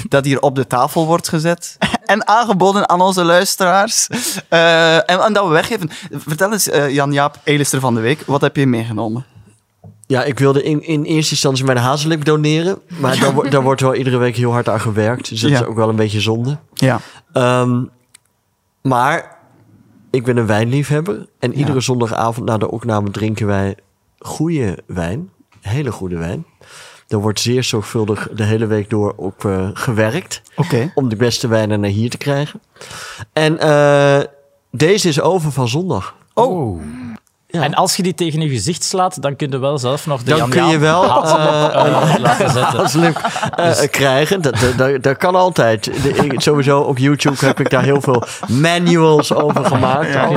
Speaker 1: dat hier op de tafel wordt gezet en aangeboden aan onze luisteraars. Eh, en, en dat we weggeven. Vertel eens, eh, Jan-Jaap, A-lister van de week, wat heb je meegenomen?
Speaker 4: Ja, ik wilde in, in eerste instantie mijn hazelip doneren. Maar daar, wo- daar wordt wel iedere week heel hard aan gewerkt. Dus dat
Speaker 1: Ja.
Speaker 4: is ook wel een beetje zonde.
Speaker 1: Ja.
Speaker 4: Ehm, maar ik ben een wijnliefhebber. En iedere zondagavond na de opname drinken wij goede wijn. Hele goede wijn. Daar wordt zeer zorgvuldig de hele week door op eh, gewerkt.
Speaker 1: Oké.
Speaker 4: Om de beste wijnen naar hier te krijgen. En eh, deze is over van zondag.
Speaker 2: Oh. En als je die tegen je gezicht slaat, dan kun je wel zelf nog de
Speaker 4: Dan
Speaker 2: Jan
Speaker 4: kun je
Speaker 2: Jaap
Speaker 4: wel,
Speaker 2: haat, eh, laten zetten.
Speaker 4: Als leuk eh, krijgen, dat, dat- dat, dat kan altijd. De- ik- sowieso op YouTube heb ik daar heel veel manuals over gemaakt. al.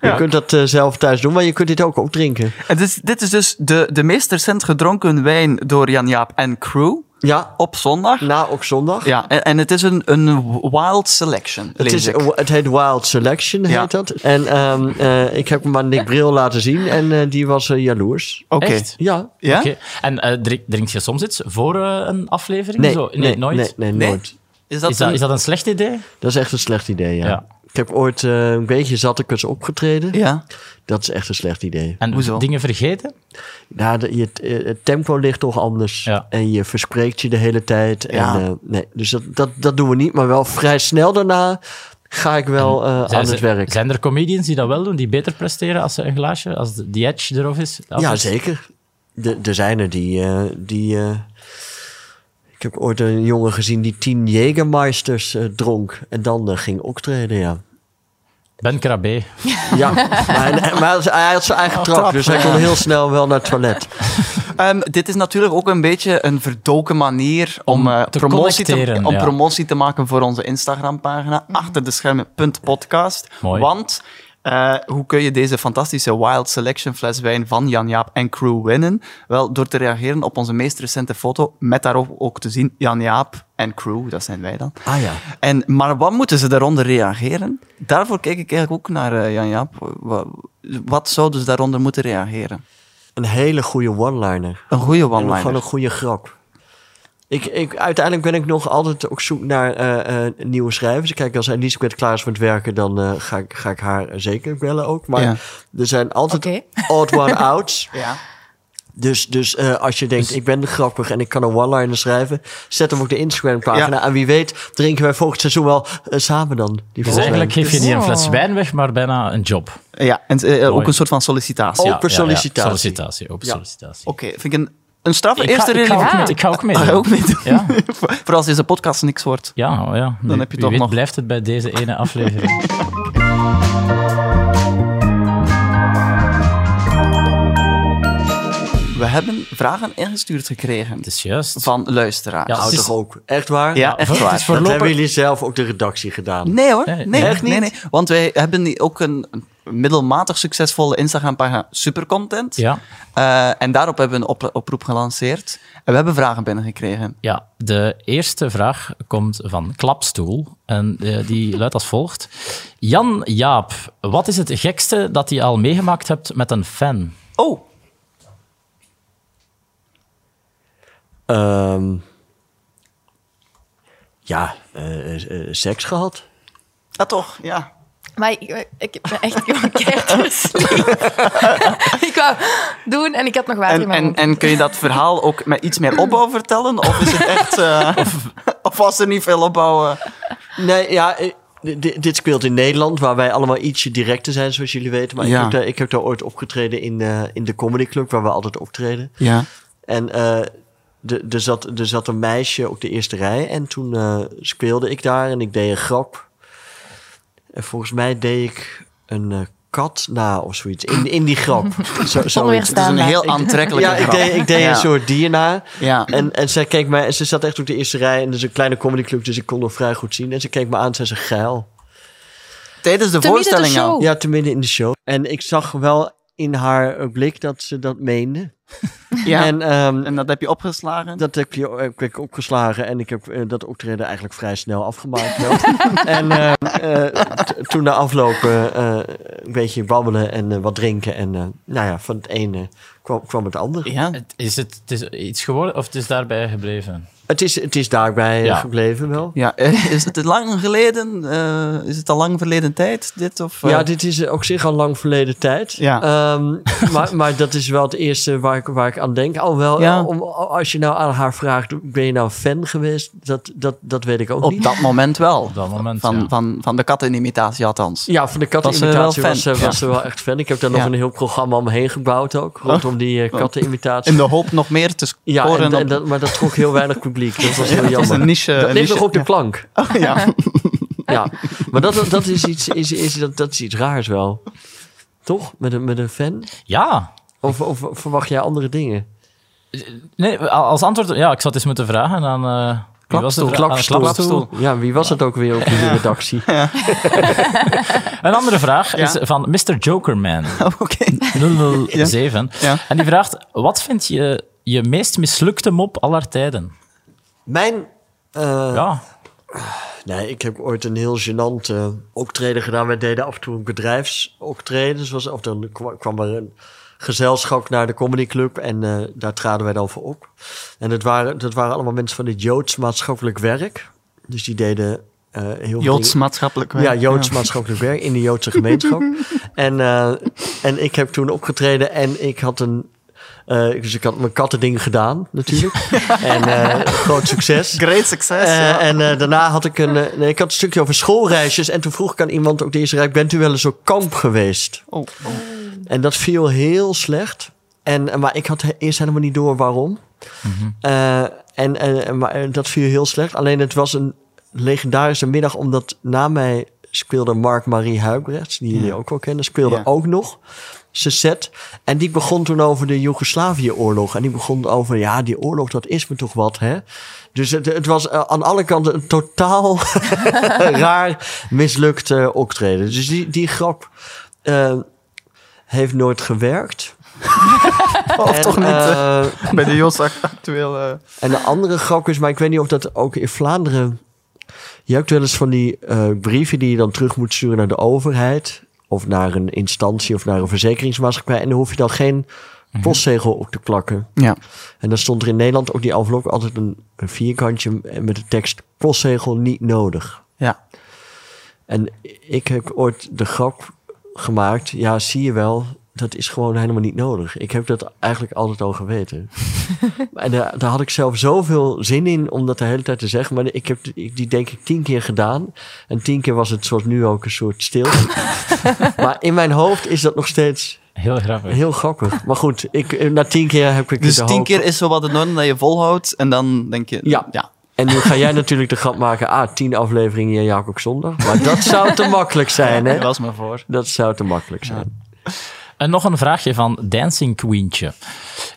Speaker 4: Je kunt dat eh, zelf thuis doen, maar je kunt dit ook opdrinken.
Speaker 1: En dit, is- dit is dus de, de meest recent gedronken wijn door Jan-Jaap en crew
Speaker 4: Ja,
Speaker 1: op zondag.
Speaker 4: na op zondag.
Speaker 1: Ja, en, en het is een, een wild selection,
Speaker 4: Het,
Speaker 1: lees
Speaker 4: is,
Speaker 1: ik.
Speaker 4: het heet Wild Selection, heet
Speaker 1: Ja.
Speaker 4: dat. En ehm, eh, ik heb hem aan Nick Bril laten zien en eh, die was eh, jaloers.
Speaker 1: Oké.
Speaker 2: Echt?
Speaker 4: Ja.
Speaker 1: Ja?
Speaker 2: Oké. En eh, drink, drink je soms iets voor eh, een aflevering?
Speaker 4: Nee,
Speaker 2: Zo?
Speaker 4: nee, nee,
Speaker 2: nooit.
Speaker 4: Nee,
Speaker 1: Nee?
Speaker 4: nooit.
Speaker 1: Is dat,
Speaker 2: Is, dat,
Speaker 1: een-
Speaker 2: is dat een slecht idee?
Speaker 4: Dat is echt een slecht idee, ja.
Speaker 2: Ja.
Speaker 4: Ik heb ooit eh, een beetje zattekens opgetreden.
Speaker 1: Ja.
Speaker 4: Dat is echt een slecht idee.
Speaker 2: En
Speaker 1: Hoezo?
Speaker 2: dingen vergeten?
Speaker 4: Ja, de- je, het- eh, het tempo ligt toch anders.
Speaker 2: Ja.
Speaker 4: En je verspreekt je de hele tijd. En,
Speaker 1: Ja.
Speaker 4: eh, nee, dus dat, dat, dat doen we niet. Maar wel vrij snel daarna ga ik wel eh,
Speaker 2: Zijn
Speaker 4: aan
Speaker 2: ze-
Speaker 4: het werk.
Speaker 2: Zijn er comedians die dat wel doen, die beter presteren als ze een glaasje, als de- die edge erop is? Als
Speaker 4: ja,
Speaker 2: het-
Speaker 4: zeker. De- Er zijn er die... eh, die eh, ik heb ooit een jongen gezien die tien Jägermeisters eh, dronk. En dan eh, ging optreden, ja.
Speaker 2: Ben Krabbe.
Speaker 4: Ja, maar, hij- maar hij had- hij had zijn
Speaker 2: Oh,
Speaker 4: eigen trap,
Speaker 1: trap,
Speaker 4: dus hij kon heel snel wel naar het toilet.
Speaker 1: Ehm, dit is natuurlijk ook een beetje een verdoken manier om, eh,
Speaker 2: te
Speaker 1: promotie, te,
Speaker 2: connecteren,
Speaker 1: om
Speaker 2: ja.
Speaker 1: promotie te maken voor onze Instagram-pagina. Achter de schermen.podcast.
Speaker 2: Mooi.
Speaker 1: Want eh, hoe kun je deze fantastische Wild Selection fles wijn van Jan-Jaap en crew winnen? Wel, door te reageren op onze meest recente foto. Met daarop ook te zien Jan-Jaap en crew, dat zijn wij dan.
Speaker 4: Ah ja.
Speaker 1: En, maar wat moeten ze daaronder reageren? Daarvoor kijk ik eigenlijk ook naar eh, Jan-Jaap. Wat, wat zouden ze daaronder moeten reageren?
Speaker 4: Een hele goede one-liner.
Speaker 1: Een goede
Speaker 4: En ook
Speaker 1: one-liner.
Speaker 4: gewoon een goede grap. Ik, ik, uiteindelijk ben ik nog altijd op zoek naar eh, eh, nieuwe schrijvers. Kijk, als Elisabeth klaar is met werken, dan eh, ga, ik, ga ik haar zeker bellen ook. Maar
Speaker 1: Ja.
Speaker 4: er zijn altijd
Speaker 3: Oké.
Speaker 4: odd one-outs.
Speaker 1: Ja.
Speaker 4: Dus, dus eh, als je denkt, ik ben grappig en ik kan een one-liner schrijven... zet hem op de Instagram-pagina.
Speaker 1: Ja.
Speaker 4: En wie weet drinken wij volgend seizoen wel eh, samen dan. Die
Speaker 2: Dus
Speaker 4: volgende.
Speaker 2: eigenlijk geef je
Speaker 3: Dus-
Speaker 2: niet een fles
Speaker 3: Oh.
Speaker 2: wijn weg, maar bijna een job.
Speaker 1: Ja, en eh, ook
Speaker 2: Mooi.
Speaker 1: een soort van sollicitatie.
Speaker 2: Oh,
Speaker 4: Open sollicitatie.
Speaker 2: Sollicitatie, open
Speaker 4: Ja.
Speaker 2: sollicitatie.
Speaker 1: Oké, vind ik een, een straffe
Speaker 2: Ik
Speaker 1: eerste
Speaker 2: ga, ik, ga
Speaker 1: release.
Speaker 2: ook
Speaker 3: Ja.
Speaker 2: met, ik ga ook mee.
Speaker 1: Ah,
Speaker 2: doen.
Speaker 1: ook meedoen.
Speaker 2: Ja.
Speaker 1: Voor als deze podcast niks wordt.
Speaker 2: Ja, oh, ja. Dan
Speaker 1: heb je toch nog-
Speaker 2: blijft het bij deze ene aflevering.
Speaker 1: We hebben vragen ingestuurd gekregen
Speaker 2: Het is juist.
Speaker 1: van luisteraars.
Speaker 2: Dus- Ja,
Speaker 1: Ja,
Speaker 4: Hou
Speaker 2: het is-
Speaker 4: Nou, toch ook. Echt waar?
Speaker 1: echt
Speaker 2: het
Speaker 1: waar.
Speaker 2: is
Speaker 4: Dat hebben
Speaker 2: voorlopig...
Speaker 4: jullie zelf ook de redactie gedaan.
Speaker 1: Nee hoor, nee,
Speaker 2: Nee,
Speaker 1: nee,
Speaker 4: echt
Speaker 1: nee,
Speaker 4: niet?
Speaker 1: nee. Want wij hebben ook een middelmatig succesvolle Instagram-pagina Supercontent.
Speaker 2: Ja.
Speaker 1: Eh, en daarop hebben we een op- oproep gelanceerd. En we hebben vragen binnengekregen.
Speaker 2: Ja, de eerste vraag komt van Klapstoel. En eh, die luidt als volgt. Jan Jaap, wat is het gekste dat je al meegemaakt hebt met een fan?
Speaker 1: Oh,
Speaker 4: Ehm, ja, eh, eh, eh, seks gehad.
Speaker 1: ja ah, toch, ja.
Speaker 3: Maar ik, ik ik ben echt gewoon keihard Ik wou doen en ik had nog water in
Speaker 1: En,
Speaker 3: mijn
Speaker 1: en,
Speaker 3: mond.
Speaker 1: en kun je dat verhaal ook met iets meer opbouw vertellen? Of is het echt... eh, of, of was er niet veel opbouw? eh?
Speaker 4: Nee, ja, eh, di- di- dit speelt in Nederland, waar wij allemaal ietsje directer zijn, zoals jullie weten. Maar
Speaker 1: Ja.
Speaker 4: ik, heb daar, ik heb daar ooit opgetreden in, eh, in de Comedy Club, waar we altijd optreden.
Speaker 1: Ja.
Speaker 4: En eh, de- er zat, er zat een meisje op de eerste rij en toen eh, speelde ik daar en ik deed een grap. En volgens mij deed ik een eh, kat na of zoiets, in, in die grap. Zo, zoiets.
Speaker 1: Het is een
Speaker 3: Staan
Speaker 1: heel
Speaker 3: daar.
Speaker 1: aantrekkelijke
Speaker 4: Ja, ik
Speaker 1: grap.
Speaker 4: deed, ik deed
Speaker 1: Ja.
Speaker 4: een soort dier na.
Speaker 1: Ja.
Speaker 4: En, en zij keek mij, en ze zat echt op de eerste rij. En dus een kleine comedyclub, dus ik kon nog vrij goed zien. En ze keek me aan en zei ze geil.
Speaker 1: Tijdens de
Speaker 3: Te midden de
Speaker 1: voorstelling al.
Speaker 3: show.
Speaker 4: Ja, te midden in de show. En ik zag wel in haar eh, blik dat ze dat meende.
Speaker 1: Ja. En,
Speaker 4: En ehm,
Speaker 1: dat heb je opgeslagen.
Speaker 4: dat heb, je, heb ik opgeslagen. En ik heb eh, dat optreden eigenlijk vrij snel afgemaakt. wel. en eh, eh, t- toen na afloop eh, eh, een beetje babbelen en eh, wat drinken. En eh, nou ja, van het ene kwam, kwam het andere.
Speaker 1: ja.
Speaker 2: Het Is het, het is iets geworden of het is daarbij gebleven?
Speaker 4: Het is, het is daarbij eh,
Speaker 2: Ja.
Speaker 4: gebleven wel.
Speaker 1: Ja, eh, is het lang geleden? Eh, is het al lang verleden tijd, dit? Of, eh?
Speaker 4: Ja, dit is eh, op zich al lang verleden tijd.
Speaker 1: Ja.
Speaker 4: Ehm, maar, maar dat is wel het eerste waar ik, waar ik aan denk. Alhoewel,
Speaker 1: Ja.
Speaker 4: eh, om, als je nou aan haar vraagt, ben je nou fan geweest? Dat, dat, dat weet ik ook
Speaker 1: Op
Speaker 4: niet.
Speaker 1: dat moment wel.
Speaker 2: Op dat moment,
Speaker 1: van,
Speaker 2: ja.
Speaker 1: van, van de kattenimitatie althans.
Speaker 4: Ja, van de
Speaker 1: Was ze
Speaker 4: kattenimitatie
Speaker 1: wel
Speaker 4: was,
Speaker 1: fan?
Speaker 4: ze- was ze wel echt fan. Ik heb daar nog
Speaker 1: Ja. Oh.
Speaker 4: een heel programma omheen gebouwd ook, rondom die eh, kattenimitatie.
Speaker 1: In de hoop nog meer te
Speaker 4: ja, en,
Speaker 1: scoren.
Speaker 4: en
Speaker 1: op-
Speaker 4: dat, maar dat trok heel weinig publiek. Dat was heel
Speaker 1: dat is
Speaker 4: jammer.
Speaker 1: een niche.
Speaker 4: dat
Speaker 1: een
Speaker 4: ligt
Speaker 1: niche.
Speaker 4: nog op de plank.
Speaker 1: Oh, ja.
Speaker 4: Ja, maar dat, dat, is iets, is, is, dat, dat is iets raars wel. Toch? Met een, met een fan?
Speaker 2: Ja.
Speaker 4: Of, of verwacht jij andere dingen?
Speaker 2: Nee, als antwoord... Ja, ik zat eens moeten vragen aan... eh, wie was de
Speaker 4: Klapstoel,
Speaker 2: vraag? Aan
Speaker 4: klapstoel.
Speaker 2: Klapstoel.
Speaker 4: Ja, wie was het ook weer op de redactie?
Speaker 2: Een andere vraag
Speaker 1: Ja.
Speaker 2: is van Mr. Jokerman.
Speaker 1: Nou, Oké.
Speaker 2: 007.
Speaker 1: Ja.
Speaker 2: En die vraagt, wat vind je je meest mislukte mop aller tijden?
Speaker 4: Mijn... eh,
Speaker 2: Ja,
Speaker 4: Nee, ik heb ooit een heel gênant eh, optreden gedaan. Wij deden af en toe een bedrijfsoptreden. Zoals, of dan kwa- kwam er een gezelschap naar de comedyclub en eh, daar traden wij dan voor op. En dat waren, dat waren allemaal mensen van het Joods maatschappelijk werk. Dus die deden eh, heel veel
Speaker 1: Joods
Speaker 4: dingen-
Speaker 1: maatschappelijk werk.
Speaker 4: ja, Joods maatschappelijk werk in de Joodse gemeenschap. en, eh, en ik heb toen opgetreden en ik had een, Eh, dus ik had mijn kattending gedaan, natuurlijk. en eh, groot succes.
Speaker 5: Great succes.
Speaker 4: Eh,
Speaker 5: ja.
Speaker 4: en eh, daarna had ik een, eh, nee, ik had een stukje over schoolreisjes. En toen vroeg ik aan iemand ook deze rijk, bent u wel eens op kamp geweest?
Speaker 5: Oh.
Speaker 4: En dat viel heel slecht. En, eh, maar ik had he- eerst helemaal niet door waarom. Eh, en, en, en- maar eh, dat viel heel slecht. Alleen het was een legendarische middag, omdat na mij speelde Mark-Marie Huibrechts, die jullie ook wel kennen, speelde
Speaker 1: Ja.
Speaker 4: ook nog zijn set. En die begon toen over de Joegoslavië-oorlog. En die begon over, ja, die oorlog, dat is me toch wat, hè? Dus het, het was eh, aan alle kanten een totaal raar mislukt eh, optreden. Dus die, die grap eh, heeft nooit gewerkt.
Speaker 1: Of
Speaker 4: En,
Speaker 1: toch niet. eh,
Speaker 4: eh,
Speaker 1: bij de Jos actueel. eh,
Speaker 4: en de andere grap is, maar ik weet niet of dat ook in Vlaanderen. Je hebt wel eens van die eh, brieven die je dan terug moet sturen naar de overheid. Of naar een instantie of naar een verzekeringsmaatschappij. En dan hoef je dan geen postzegel op te plakken.
Speaker 1: ja.
Speaker 4: En dan stond er in Nederland op die envelop altijd een, een vierkantje met de tekst postzegel niet nodig.
Speaker 1: ja.
Speaker 4: En ik heb ooit de grap gemaakt. Ja, zie je wel, dat is gewoon helemaal niet nodig. Ik heb dat eigenlijk altijd al geweten. en daar, daar had ik zelf zoveel zin in om dat de hele tijd te zeggen. Maar ik heb ik- die denk ik tien keer gedaan. En tien keer was het zoals nu ook een soort stilte. maar in mijn hoofd is dat nog steeds
Speaker 2: Heel grappig.
Speaker 4: heel grappig. Maar goed, ik, eh, na tien keer heb ik
Speaker 1: Dus
Speaker 4: de
Speaker 1: tien
Speaker 4: hoop-
Speaker 1: keer is zo wat de norm dat je volhoudt en dan denk je...
Speaker 4: Ja.
Speaker 1: ja.
Speaker 4: En nu ga jij natuurlijk de grap maken. Ah, tien afleveringen in Jacob Zondag. Maar dat zou te makkelijk zijn, hè?
Speaker 1: was maar voor.
Speaker 4: Dat zou te makkelijk zijn.
Speaker 2: En nog een vraagje van Dancing Queentje.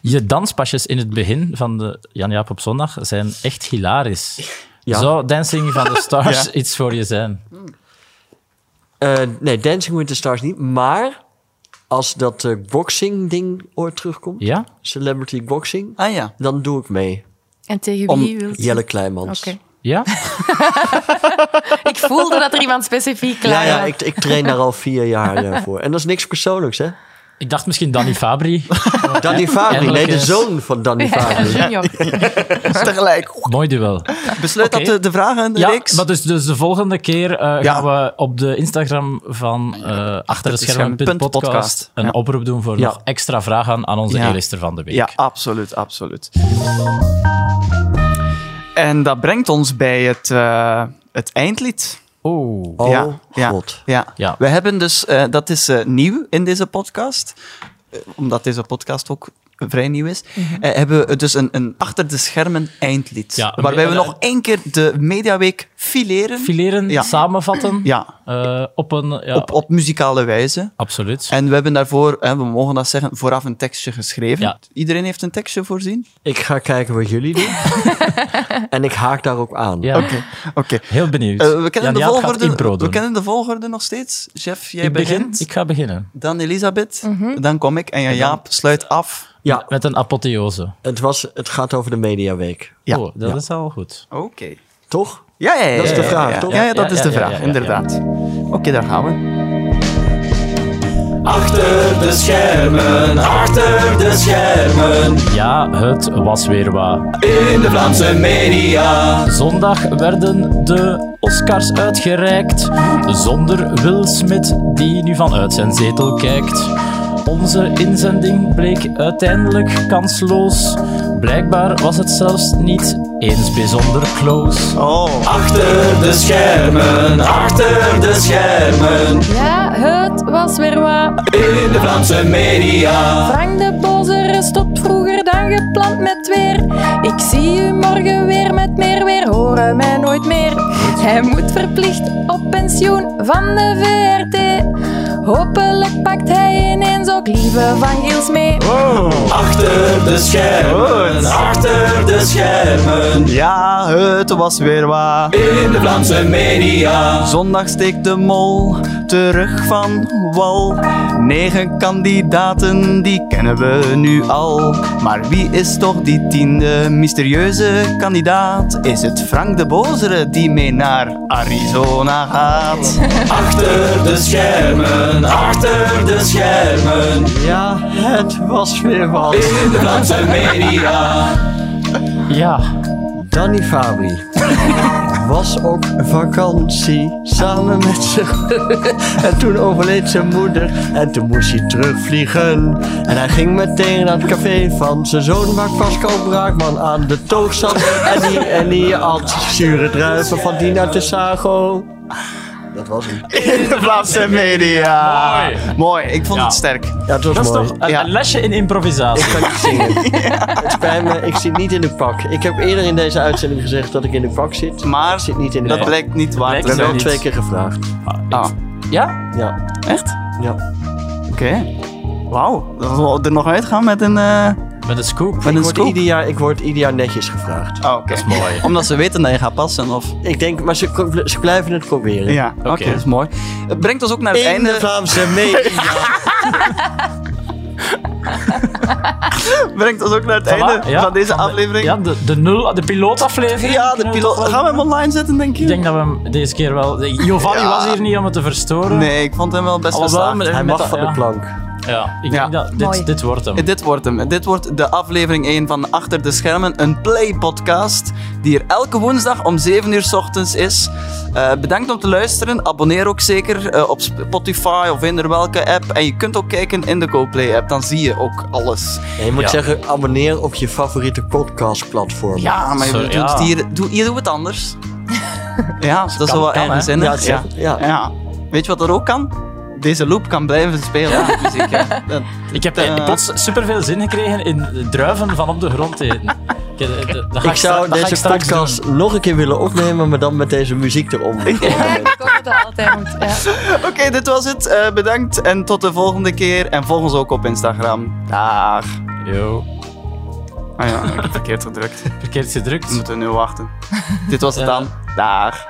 Speaker 2: Je danspasjes in het begin van de Jan-Jaap op zondag zijn echt hilarisch.
Speaker 4: Ja.
Speaker 2: Zou Dancing van the Stars iets voor je zijn?
Speaker 4: Eh, nee, Dancing with the Stars niet. Maar als dat eh, boxing-ding ooit terugkomt,
Speaker 2: Ja?
Speaker 4: celebrity boxing,
Speaker 1: Ah ja.
Speaker 4: dan doe ik mee.
Speaker 3: En tegen
Speaker 1: Om-
Speaker 3: wie wil je?
Speaker 4: Jelle Kleimans.
Speaker 3: Oké.
Speaker 2: Ja?
Speaker 3: Ik voelde dat er iemand specifiek
Speaker 4: Ja,
Speaker 3: klaar
Speaker 4: ja
Speaker 3: was.
Speaker 4: ik, ik train daar al vier jaar eh, voor. En dat is niks persoonlijks, hè?
Speaker 2: Ik dacht misschien Danny Fabri.
Speaker 4: Danny Fabri, nee,
Speaker 2: Eindelijk
Speaker 4: de
Speaker 2: eens.
Speaker 4: zoon van Danny Fabri.
Speaker 3: Junior.
Speaker 1: Tegelijk.
Speaker 2: Mooi duel.
Speaker 1: Besluit
Speaker 2: Oké.
Speaker 1: dat de, de vragen en de
Speaker 2: Ja,
Speaker 1: reeks...
Speaker 2: maar dus, dus de volgende keer eh,
Speaker 1: Ja.
Speaker 2: gaan we op de Instagram van eh, Achter de Schermen punt
Speaker 1: dus punt
Speaker 2: podcast,
Speaker 1: podcast.
Speaker 2: een
Speaker 1: Ja.
Speaker 2: oproep doen voor
Speaker 4: Ja.
Speaker 2: nog extra vragen aan onze
Speaker 1: Ja.
Speaker 2: e-lister van de week.
Speaker 1: Ja, absoluut, absoluut. En dat brengt ons bij het, eh, het eindlied.
Speaker 2: Oh.
Speaker 4: Oh,
Speaker 1: Ja, ja.
Speaker 4: god.
Speaker 1: Ja.
Speaker 2: Ja.
Speaker 1: we hebben dus, eh, dat is eh, nieuw in deze podcast, eh, omdat deze podcast ook vrij nieuw is, eh, hebben we dus een, een achter de schermen eindlied.
Speaker 2: Ja,
Speaker 1: waarbij we
Speaker 2: eh,
Speaker 1: nog één keer de Mediaweek fileren.
Speaker 2: Fileren,
Speaker 1: Ja.
Speaker 2: samenvatten.
Speaker 1: ja,
Speaker 2: eh, op een... Ja,
Speaker 1: op, op muzikale wijze.
Speaker 2: Absoluut.
Speaker 1: En we hebben daarvoor, hè, we mogen dat zeggen, vooraf een tekstje geschreven.
Speaker 2: Ja.
Speaker 1: Iedereen heeft een tekstje voorzien?
Speaker 4: Ik ga kijken wat jullie doen. en ik haak daar ook aan.
Speaker 2: Ja.
Speaker 1: Oké.
Speaker 2: Heel benieuwd.
Speaker 1: Eh, we, kennen de
Speaker 2: Jan-Jaap gaat impro
Speaker 1: volgorde, we
Speaker 2: doen.
Speaker 1: kennen de volgorde nog steeds. Jeff, jij
Speaker 2: ik begin.
Speaker 1: begint.
Speaker 2: Ik ga beginnen.
Speaker 1: Dan Elisabeth. Dan kom ik. En Jaap sluit af.
Speaker 4: Ja.
Speaker 2: Met een apotheose.
Speaker 4: Het, was, het gaat over de Mediaweek,
Speaker 1: Ja.
Speaker 2: Oh, dat
Speaker 4: Ja.
Speaker 2: is al goed.
Speaker 1: Oké.
Speaker 4: toch?
Speaker 1: Ja, ja, ja.
Speaker 4: Dat is de
Speaker 1: ja,
Speaker 4: vraag,
Speaker 1: ja,
Speaker 4: toch?
Speaker 1: Ja, ja, dat
Speaker 2: Ja,
Speaker 1: is
Speaker 2: ja,
Speaker 1: de
Speaker 2: ja,
Speaker 1: vraag,
Speaker 2: ja, ja.
Speaker 1: inderdaad. Oké, daar gaan we.
Speaker 2: Ja, het was weer wat. In de Vlaamse media. Zondag werden de Oscars uitgereikt. Zonder Will Smith, die nu vanuit zijn zetel kijkt. Onze inzending bleek uiteindelijk kansloos. Blijkbaar was het zelfs niet eens bijzonder close.
Speaker 1: Oh,
Speaker 3: Ja, het was weer wat. In de Vlaamse media. Frank de Bozer stopt vroeger dan gepland met weer. Ik zie u morgen weer met meer weer, horen mij nooit meer. Hij moet verplicht op pensioen van de VRT. Hopelijk pakt hij ineens ook lieve van Giels mee.
Speaker 1: ja, het was weer waar. In de Vlaamse media. Zondag steekt de mol terug van wal. Negen kandidaten, die kennen we nu al. Maar wie is toch die tiende mysterieuze kandidaat? Is het Frank de Bozere die mee naar Arizona gaat?
Speaker 4: Ja, het was weer wat.
Speaker 2: Ja,
Speaker 4: Danny Fabri. was op vakantie samen met zijn. en toen overleed zijn moeder en toen moest hij terugvliegen. En hij ging meteen naar het café van zijn zoon waar Pascal Braakman aan de toog zat. En die, en die at zure druiven van Dina Tessago. Dat was hem.
Speaker 1: In de Vlaamse media.
Speaker 2: Mooi.
Speaker 1: Mooi, ik vond
Speaker 2: Ja.
Speaker 1: het sterk.
Speaker 4: Ja, het was
Speaker 2: Dat is
Speaker 4: mooi.
Speaker 2: toch een,
Speaker 1: Ja.
Speaker 2: een lesje in improvisatie.
Speaker 4: Ik kan niet zingen. Het spijt me, ik zit niet in de pak. Ik heb eerder in deze uitzending gezegd dat ik in de pak zit.
Speaker 1: Maar
Speaker 4: Ik zit niet in de
Speaker 1: dat
Speaker 4: pak.
Speaker 1: blijkt niet waar
Speaker 2: Blijkt
Speaker 1: te
Speaker 4: Ik ben
Speaker 1: zijn.
Speaker 4: wel
Speaker 2: niet.
Speaker 4: twee keer gevraagd.
Speaker 1: Ah,
Speaker 2: Ja?
Speaker 4: Ja,
Speaker 1: echt?
Speaker 4: ja.
Speaker 1: Oké. Wauw, dan zullen we er nog uitgaan met een, eh
Speaker 2: Met een scoop.
Speaker 1: met
Speaker 4: Ik
Speaker 1: een
Speaker 4: word,
Speaker 1: scoop.
Speaker 4: ieder jaar, ik word ieder jaar netjes gevraagd.
Speaker 1: Ah, oké.
Speaker 2: Dat is mooi.
Speaker 1: Omdat ze weten dat je gaat passen, of...
Speaker 4: Ik denk, maar ze, pro- ze blijven het proberen.
Speaker 1: Ja, eh, oké, dat is mooi. Het brengt ons ook naar het
Speaker 4: In de
Speaker 1: einde.
Speaker 4: Vlaamse media.
Speaker 1: brengt ons ook naar het einde
Speaker 2: ja,
Speaker 1: van deze
Speaker 2: van de-
Speaker 1: aflevering.
Speaker 2: Ja, de, de, nul, de pilootaflevering.
Speaker 1: Ja, de
Speaker 2: Kunnen we
Speaker 1: piloot.
Speaker 2: toch wel-
Speaker 1: Gaan we hem online zetten, denk je?
Speaker 2: Ik denk dat we hem deze keer wel... Giovanni
Speaker 1: Ja.
Speaker 2: was hier niet om het te verstoren.
Speaker 1: Nee, ik vond hem wel best
Speaker 2: Alhoewel,
Speaker 1: geslaagd.
Speaker 2: met-
Speaker 4: Hij
Speaker 2: met
Speaker 4: mag
Speaker 2: dat-
Speaker 4: van
Speaker 2: ja.
Speaker 4: de plank.
Speaker 2: Ja, ik
Speaker 1: Ja.
Speaker 2: denk dat
Speaker 3: Mooi.
Speaker 2: dit, dit wordt hem.
Speaker 1: Dit wordt hem. Dit wordt de aflevering 1 van Achter de Schermen, een Play-podcast die er elke woensdag om 7 uur 's ochtends is. Eh, bedankt om te luisteren. Abonneer ook zeker eh, op Spotify of in er welke app. En je kunt ook kijken in de GoPlay-app, dan zie je ook alles.
Speaker 4: Nee, je moet
Speaker 2: Ja.
Speaker 4: zeggen, abonneer op je favoriete podcastplatform.
Speaker 1: Ja, maar je
Speaker 2: Zo,
Speaker 1: doet
Speaker 2: ja.
Speaker 1: het hier, doe, hier doen we het anders. ja, dat is
Speaker 2: kan-
Speaker 1: wel
Speaker 2: kan, hè?
Speaker 4: ja,
Speaker 1: eigenzinnig.
Speaker 4: ja. ja.
Speaker 1: Ja. Weet je wat er ook kan? Deze loop kan blijven spelen. Muziek, hè. Dat-
Speaker 2: Ik heb
Speaker 1: Eh.
Speaker 2: eh, plots superveel zin gekregen in de druiven van op de grond eten. Ik, eh, dat- dat ga
Speaker 4: Ik
Speaker 2: stra-
Speaker 4: zou
Speaker 2: dat ga ik
Speaker 4: deze
Speaker 2: straks
Speaker 4: podcast
Speaker 2: doen.
Speaker 4: nog een keer willen opnemen, maar dan met deze muziek eronder.
Speaker 3: Ja, ik hoor het al altijd goed. Ja.
Speaker 1: Oké, dit was het. Eh, bedankt en tot de volgende keer. En volg ons ook op Instagram. Daag.
Speaker 2: Yo,
Speaker 1: Ah ja, ik heb verkeerd gedrukt.
Speaker 2: verkeerd gedrukt.
Speaker 1: We moeten nu wachten. dit was het dan. Daag.